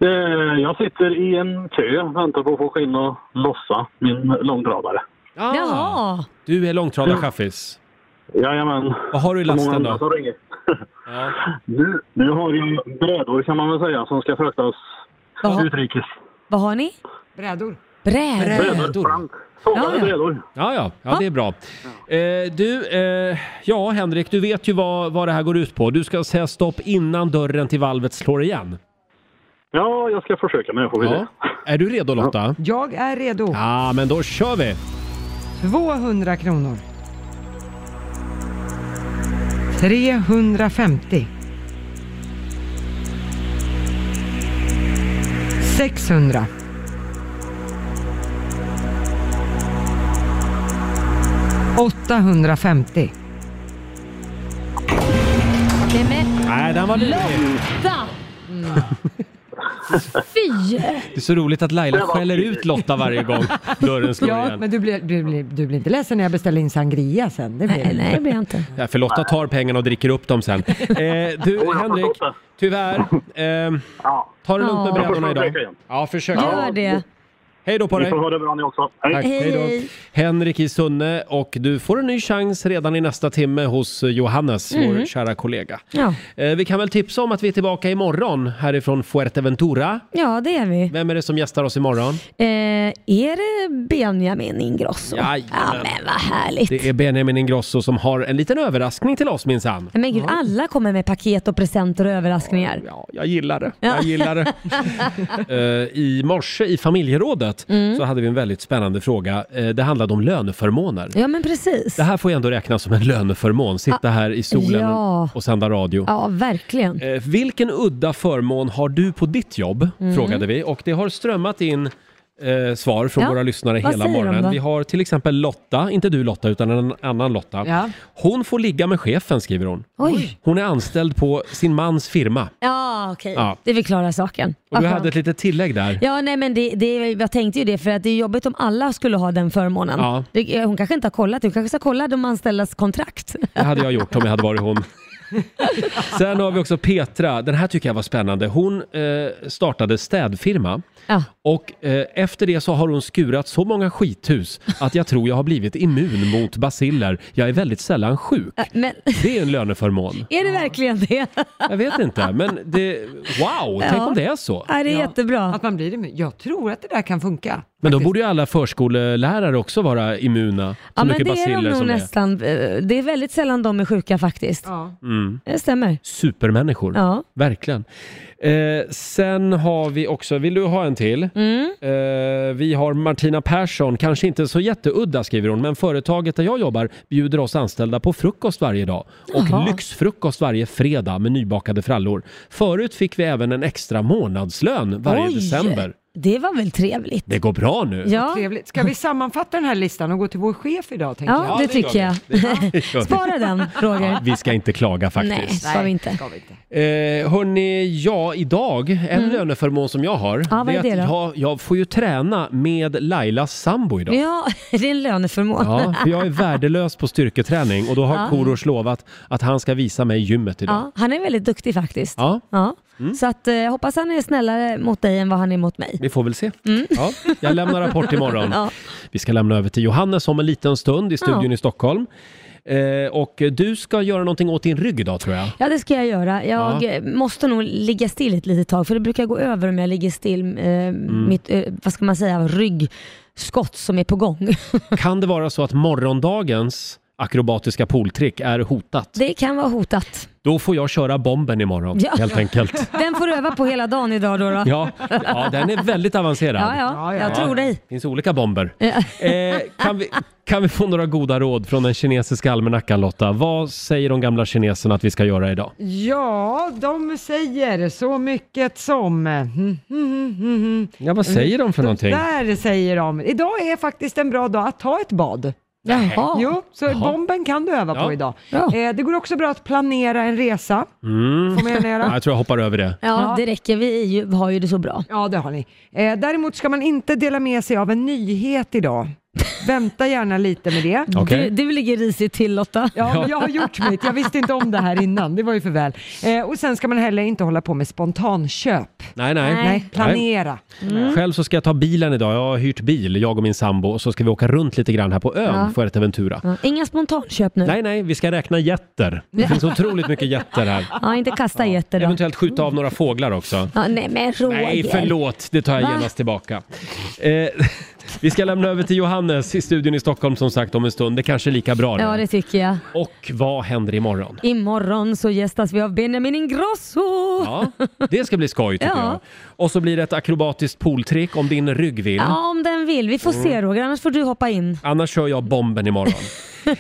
Speaker 14: Eh, Jag sitter i en kö väntar på att få gå in och lossa min långtradare.
Speaker 1: Ah,
Speaker 2: Jaha!
Speaker 1: Du är långtradarchaffis.
Speaker 14: Jajamän.
Speaker 1: Vad har du i lasten
Speaker 14: Många andra som
Speaker 1: då?
Speaker 14: ringer. Nu, nu har jag brädor kan man väl säga som ska fraktas
Speaker 2: Jaha.
Speaker 14: utrikes.
Speaker 2: Vad har ni?
Speaker 3: Brädor.
Speaker 2: Brädor.
Speaker 14: plank, sågade
Speaker 2: Ja, ja.
Speaker 14: brädor.
Speaker 1: Ja, ja, ja, det är bra. Eh, du, eh, ja Henrik, du vet ju vad, vad det här går ut på. Du ska säga stopp innan dörren till valvet slår igen.
Speaker 14: Ja, jag ska försöka men jag får vi
Speaker 1: Ja.
Speaker 14: se.
Speaker 1: Är du redo Lotta?
Speaker 3: Jag är redo.
Speaker 1: Ja, men då kör vi!
Speaker 3: 200 kronor. 350. 600. 850.
Speaker 2: Nej men
Speaker 1: Nej, den var lurig.
Speaker 2: Lotta! Fy!
Speaker 1: Det är så roligt att Laila skäller ut Lotta varje gång dörren slår
Speaker 3: Ja,
Speaker 1: igen.
Speaker 3: men du blir, du, blir, du blir inte ledsen när jag beställer in sangria sen. Det blir
Speaker 2: Nej, det blir jag inte.
Speaker 1: Ja, för Lotta tar pengarna och dricker upp dem sen. Eh, du, Henrik, tyvärr. Eh, ta det lugnt med
Speaker 2: Ja.
Speaker 1: brädorna
Speaker 14: Jag får
Speaker 1: idag.
Speaker 14: försöka igen.
Speaker 1: Ja, försök.
Speaker 2: Gör det.
Speaker 1: Hej då på
Speaker 14: Ni
Speaker 1: dig.
Speaker 14: får ha det bra ni också.
Speaker 1: Tack, hej då. Henrik i Sunne och du får en ny chans redan i nästa timme hos Johannes, vår
Speaker 2: Mm.
Speaker 1: kära kollega.
Speaker 2: Ja.
Speaker 1: Eh, vi kan väl tipsa om att vi är tillbaka imorgon härifrån Fuerteventura.
Speaker 2: ja, det är vi.
Speaker 1: Vem är det som gästar oss imorgon?
Speaker 2: Eh, är det Benjamin Ingrosso?
Speaker 1: Jajamän.
Speaker 2: Ja, men vad härligt.
Speaker 1: Det är Benjamin Ingrosso som har en liten överraskning till oss minsann.
Speaker 2: Men gud, alla kommer med paket och presenter och överraskningar.
Speaker 1: Jag gillar det.
Speaker 2: Ja.
Speaker 1: Jag gillar det. Eh, I morse i familjerådet
Speaker 2: Mm.
Speaker 1: så hade vi en väldigt spännande fråga. Eh, Det handlade om löneförmåner.
Speaker 2: Ja, men precis.
Speaker 1: Det här får ju ändå räknas som en löneförmån, sitta här i solen
Speaker 2: ja.
Speaker 1: och sända radio.
Speaker 2: Ja, verkligen.
Speaker 1: Eh, Vilken udda förmån har du på ditt jobb?
Speaker 2: Mm.
Speaker 1: Frågade vi och det har strömmat in eh, svar från
Speaker 2: Ja.
Speaker 1: våra lyssnare
Speaker 2: Vad
Speaker 1: hela
Speaker 2: säger de då?
Speaker 1: morgonen. Vi har till exempel Lotta, inte du Lotta utan en annan Lotta.
Speaker 2: Ja.
Speaker 1: Hon får ligga med chefen skriver hon.
Speaker 2: Oj.
Speaker 1: Hon är anställd på sin mans firma.
Speaker 2: Ja, okej.
Speaker 1: Ja.
Speaker 2: Det förklarar saken.
Speaker 1: Och
Speaker 2: Vad
Speaker 1: du
Speaker 2: skönt.
Speaker 1: hade ett litet tillägg där.
Speaker 2: Ja, nej men det, det, jag tänkte ju det för att det är jobbigt om alla skulle ha den förmånen.
Speaker 1: Ja.
Speaker 2: Det, hon kanske inte har kollat, hon kanske ska kolla de anställdas kontrakt.
Speaker 1: Det hade jag gjort om jag hade varit hon. Sen har vi också Petra. Den här tycker jag var spännande. Hon eh, startade städfirma.
Speaker 2: Ja.
Speaker 1: Och eh, efter det så har hon skurat så många skithus att jag tror jag har blivit immun mot basiller. Jag är väldigt sällan sjuk.
Speaker 2: Äh, Men
Speaker 1: Det är en löneförmån.
Speaker 2: är det verkligen det?
Speaker 1: Jag vet inte, men det... Wow, tänk
Speaker 3: Ja.
Speaker 1: om det är så.
Speaker 2: Ja, det är jättebra.
Speaker 3: Att man blir immun. Jag tror att det där kan funka.
Speaker 1: Men då borde ju alla förskolelärare också vara immuna. Så
Speaker 2: Ja, men
Speaker 1: mycket
Speaker 2: det är de
Speaker 1: basiller
Speaker 2: nog
Speaker 1: som det är.
Speaker 2: nästan. Eh, Det är väldigt sällan de är sjuka faktiskt.
Speaker 1: Mm.
Speaker 2: Det stämmer.
Speaker 1: Supermänniskor.
Speaker 2: Ja.
Speaker 1: Verkligen. Eh, sen har vi också, vill du ha en till?
Speaker 2: Mm.
Speaker 1: Eh, vi har Martina Persson, kanske inte så jätteudda skriver hon, men företaget där jag jobbar bjuder oss anställda på frukost varje dag och
Speaker 2: Jaha.
Speaker 1: lyxfrukost varje fredag med nybakade frallor. Förut fick vi även en extra månadslön varje
Speaker 3: Oj.
Speaker 1: december.
Speaker 2: Det var väl trevligt?
Speaker 1: Det går bra nu.
Speaker 3: Vad Trevligt. Ska vi sammanfatta den här listan och gå till vår chef idag? Tänker
Speaker 2: Ja,
Speaker 3: jag.
Speaker 2: det tycker jag. Spara den, Roger.
Speaker 1: Vi ska inte klaga faktiskt.
Speaker 2: Nej, ska vi inte.
Speaker 1: Eh, hörni, ja, idag, en
Speaker 2: Mm.
Speaker 1: löneförmån som jag har,
Speaker 2: Ja, vad är
Speaker 1: att
Speaker 2: det då?
Speaker 1: jag, jag får ju träna med Lailas sambo idag.
Speaker 2: Ja, det är en löneförmån.
Speaker 1: Ja, för jag är värdelös på styrketräning och då har
Speaker 2: Ja.
Speaker 1: Korosh lovat att han ska visa mig gymmet idag.
Speaker 2: Ja, han är väldigt duktig faktiskt.
Speaker 1: Ja.
Speaker 2: Mm. Så att, eh, jag hoppas han är snällare mot dig än vad han är mot mig.
Speaker 1: Vi får väl se. Ja, jag lämnar rapport imorgon.
Speaker 2: Mm. Ja.
Speaker 1: Vi ska lämna över till Johannes om en liten stund i studion
Speaker 2: Ja.
Speaker 1: i Stockholm. Eh, och du ska göra någonting åt din rygg idag tror jag.
Speaker 2: Ja, det ska jag göra. Jag
Speaker 1: Ja.
Speaker 2: eh, måste nog ligga still ett litet tag för det brukar gå över om jag ligger still. Eh,
Speaker 1: Mm.
Speaker 2: Mitt, eh, vad ska man säga, ryggskott som är på gång.
Speaker 1: Kan det vara så att morgondagens akrobatiska pooltrick är hotat?
Speaker 2: det kan vara hotat.
Speaker 1: Då får jag köra bomben imorgon
Speaker 2: Ja.
Speaker 1: helt enkelt.
Speaker 2: Den får du öva på hela dagen idag då. då.
Speaker 1: Ja, ja, den är väldigt avancerad.
Speaker 2: Ja, ja, jag tror dig.
Speaker 1: Det finns olika bomber.
Speaker 2: Ja.
Speaker 1: Eh, kan, vi, kan vi få några goda råd från den kinesiska almanackan Lotta? Vad säger de gamla kineserna att vi ska göra idag?
Speaker 3: Ja, de säger så mycket som... Mm, mm, mm, mm.
Speaker 1: Ja, vad säger de för någonting?
Speaker 3: Där säger de. Idag är faktiskt en bra dag att ta ett bad.
Speaker 1: Jaha.
Speaker 3: Jo, så
Speaker 1: Jaha.
Speaker 3: bomben kan du öva
Speaker 1: Ja.
Speaker 3: på idag. Eh, det går också bra att planera en resa.
Speaker 1: Mm.
Speaker 3: Får man göra det då?
Speaker 1: Ja, jag tror jag hoppar över det.
Speaker 2: Ja, det räcker. Vi är ju, har ju det så bra.
Speaker 3: Ja, det har ni. Eh, däremot ska man inte dela med sig av en nyhet idag. Vänta gärna lite med det.
Speaker 2: Okej. Du- ligger risigt till Lotta.
Speaker 3: Ja, men jag har gjort mitt. Jag visste inte om det här innan. Det var ju för väl. Eh, och sen ska man heller inte hålla på med spontanköp.
Speaker 1: Nej, nej.
Speaker 3: Nej, planera. Mm.
Speaker 1: Själv så ska jag ta bilen idag. Jag har hyrt bil, jag och min sambo. Och så ska vi åka runt lite grann här på ön,
Speaker 2: Ja.
Speaker 1: Fuerteventura.
Speaker 2: Ja. Inga spontanköp nu.
Speaker 1: Nej, nej, vi ska räkna jätter. Det finns otroligt mycket jätter här.
Speaker 2: Ja, inte kasta getter då.
Speaker 1: Eventuellt skjuta av några fåglar också.
Speaker 2: Ja, nej men Roger.
Speaker 1: Nej, förlåt. Det tar jag
Speaker 2: Va?
Speaker 1: genast tillbaka. Eh, vi ska lämna över till Johannes i studion i Stockholm som sagt om en stund. Det kanske är lika bra det.
Speaker 2: Ja, det tycker jag.
Speaker 1: Och vad händer imorgon?
Speaker 2: Imorgon så gästas vi av Benjamin Ingrosso.
Speaker 1: Ja, det ska bli skoj tycker
Speaker 2: Ja.
Speaker 1: jag. Och så blir det ett akrobatiskt pooltrick om din rygg vill.
Speaker 2: Ja, om den vill. Vi får se
Speaker 1: Mm.
Speaker 2: Roger, annars får du hoppa in.
Speaker 1: Annars kör jag bomben imorgon.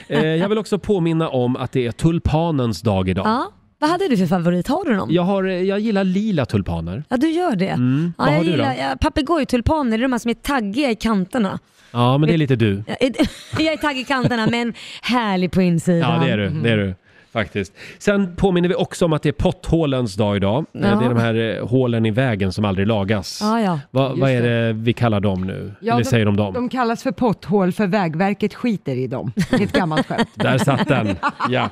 Speaker 1: eh, jag vill också påminna om att det är tulpanens dag idag.
Speaker 2: Ja. Vad hade du för favorit? Har du någon?
Speaker 1: Jag, har, eh, jag gillar lila tulpaner.
Speaker 2: Ja, du gör det.
Speaker 1: Mm.
Speaker 2: Ja,
Speaker 1: Vad
Speaker 2: jag
Speaker 1: har du då?
Speaker 2: gillar ja, papegojtulpaner, det är de här som är taggiga i kanterna.
Speaker 1: Ja, men det är lite du.
Speaker 2: Jag är, jag är taggig i kanterna men härlig på insidan.
Speaker 1: Ja, det är du.
Speaker 3: Mhm.
Speaker 1: Det är du. Faktiskt. Sen påminner vi också om att det är potthålens dag idag. Eh,
Speaker 2: Ja.
Speaker 1: Det är de här eh, hålen i vägen som aldrig lagas.
Speaker 3: Ja, ja.
Speaker 1: Va,
Speaker 3: Just
Speaker 1: vad är det vi kallar dem nu?
Speaker 3: Ja,
Speaker 1: Eller säger de dem?
Speaker 3: De kallas för potthål för Vägverket skiter i dem. Det är ett gammalt skämt.
Speaker 1: Där satt den. Ja.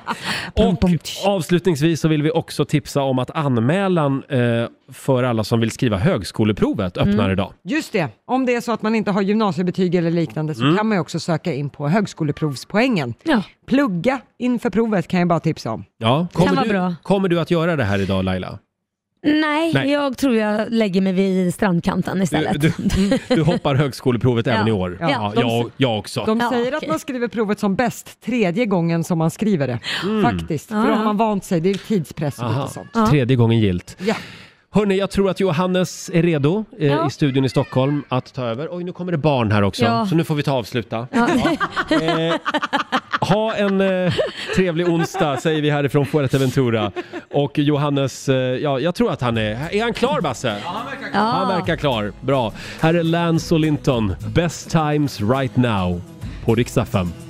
Speaker 1: Och avslutningsvis så vill vi också tipsa om att anmälan eh, för alla som vill skriva högskoleprovet öppnar
Speaker 3: Mm.
Speaker 1: idag.
Speaker 3: Just det, om det är så att man inte har gymnasiebetyg eller liknande så
Speaker 1: Mm.
Speaker 3: kan man ju också söka in på högskoleprovspoängen.
Speaker 2: Ja.
Speaker 3: Plugga inför provet kan jag bara tipsa om.
Speaker 1: Ja.
Speaker 3: Kan
Speaker 1: Kommer,
Speaker 3: vara
Speaker 1: du,
Speaker 3: bra.
Speaker 1: kommer du att göra det här idag Laila?
Speaker 2: Nej,
Speaker 1: Nej.
Speaker 2: jag tror jag lägger mig vid strandkanten
Speaker 1: Du,
Speaker 2: istället.
Speaker 1: du, du hoppar högskoleprovet även
Speaker 2: Ja.
Speaker 1: i år?
Speaker 2: Ja.
Speaker 1: Ja,
Speaker 2: De-
Speaker 1: jag, jag också.
Speaker 3: De
Speaker 2: Ja,
Speaker 3: säger att
Speaker 2: okej.
Speaker 3: man skriver provet som bäst tredje gången som man skriver det. Faktiskt,
Speaker 1: Ja,
Speaker 2: Ah.
Speaker 3: för då
Speaker 1: ja.
Speaker 3: har man vant sig. Det är tidspress och
Speaker 1: Aha.
Speaker 3: lite sånt.
Speaker 1: Tredje gången gilt.
Speaker 3: Ja.
Speaker 1: Hörni, jag tror att Johannes är redo eh,
Speaker 2: Ja.
Speaker 1: i studion i Stockholm att ta över. Oj, nu kommer det barn här också,
Speaker 2: Ja.
Speaker 1: så nu får vi ta och avsluta.
Speaker 2: Ja.
Speaker 1: Ja. Eh, Ha en eh, trevlig onsdag säger vi härifrån Fuerteventura. Och Johannes, eh, ja, jag tror att han är... Är han klar Basse?
Speaker 2: Ja.
Speaker 1: Han verkar klar. Bra. Här är Lance och Linton. Best times right now på riksdag 5.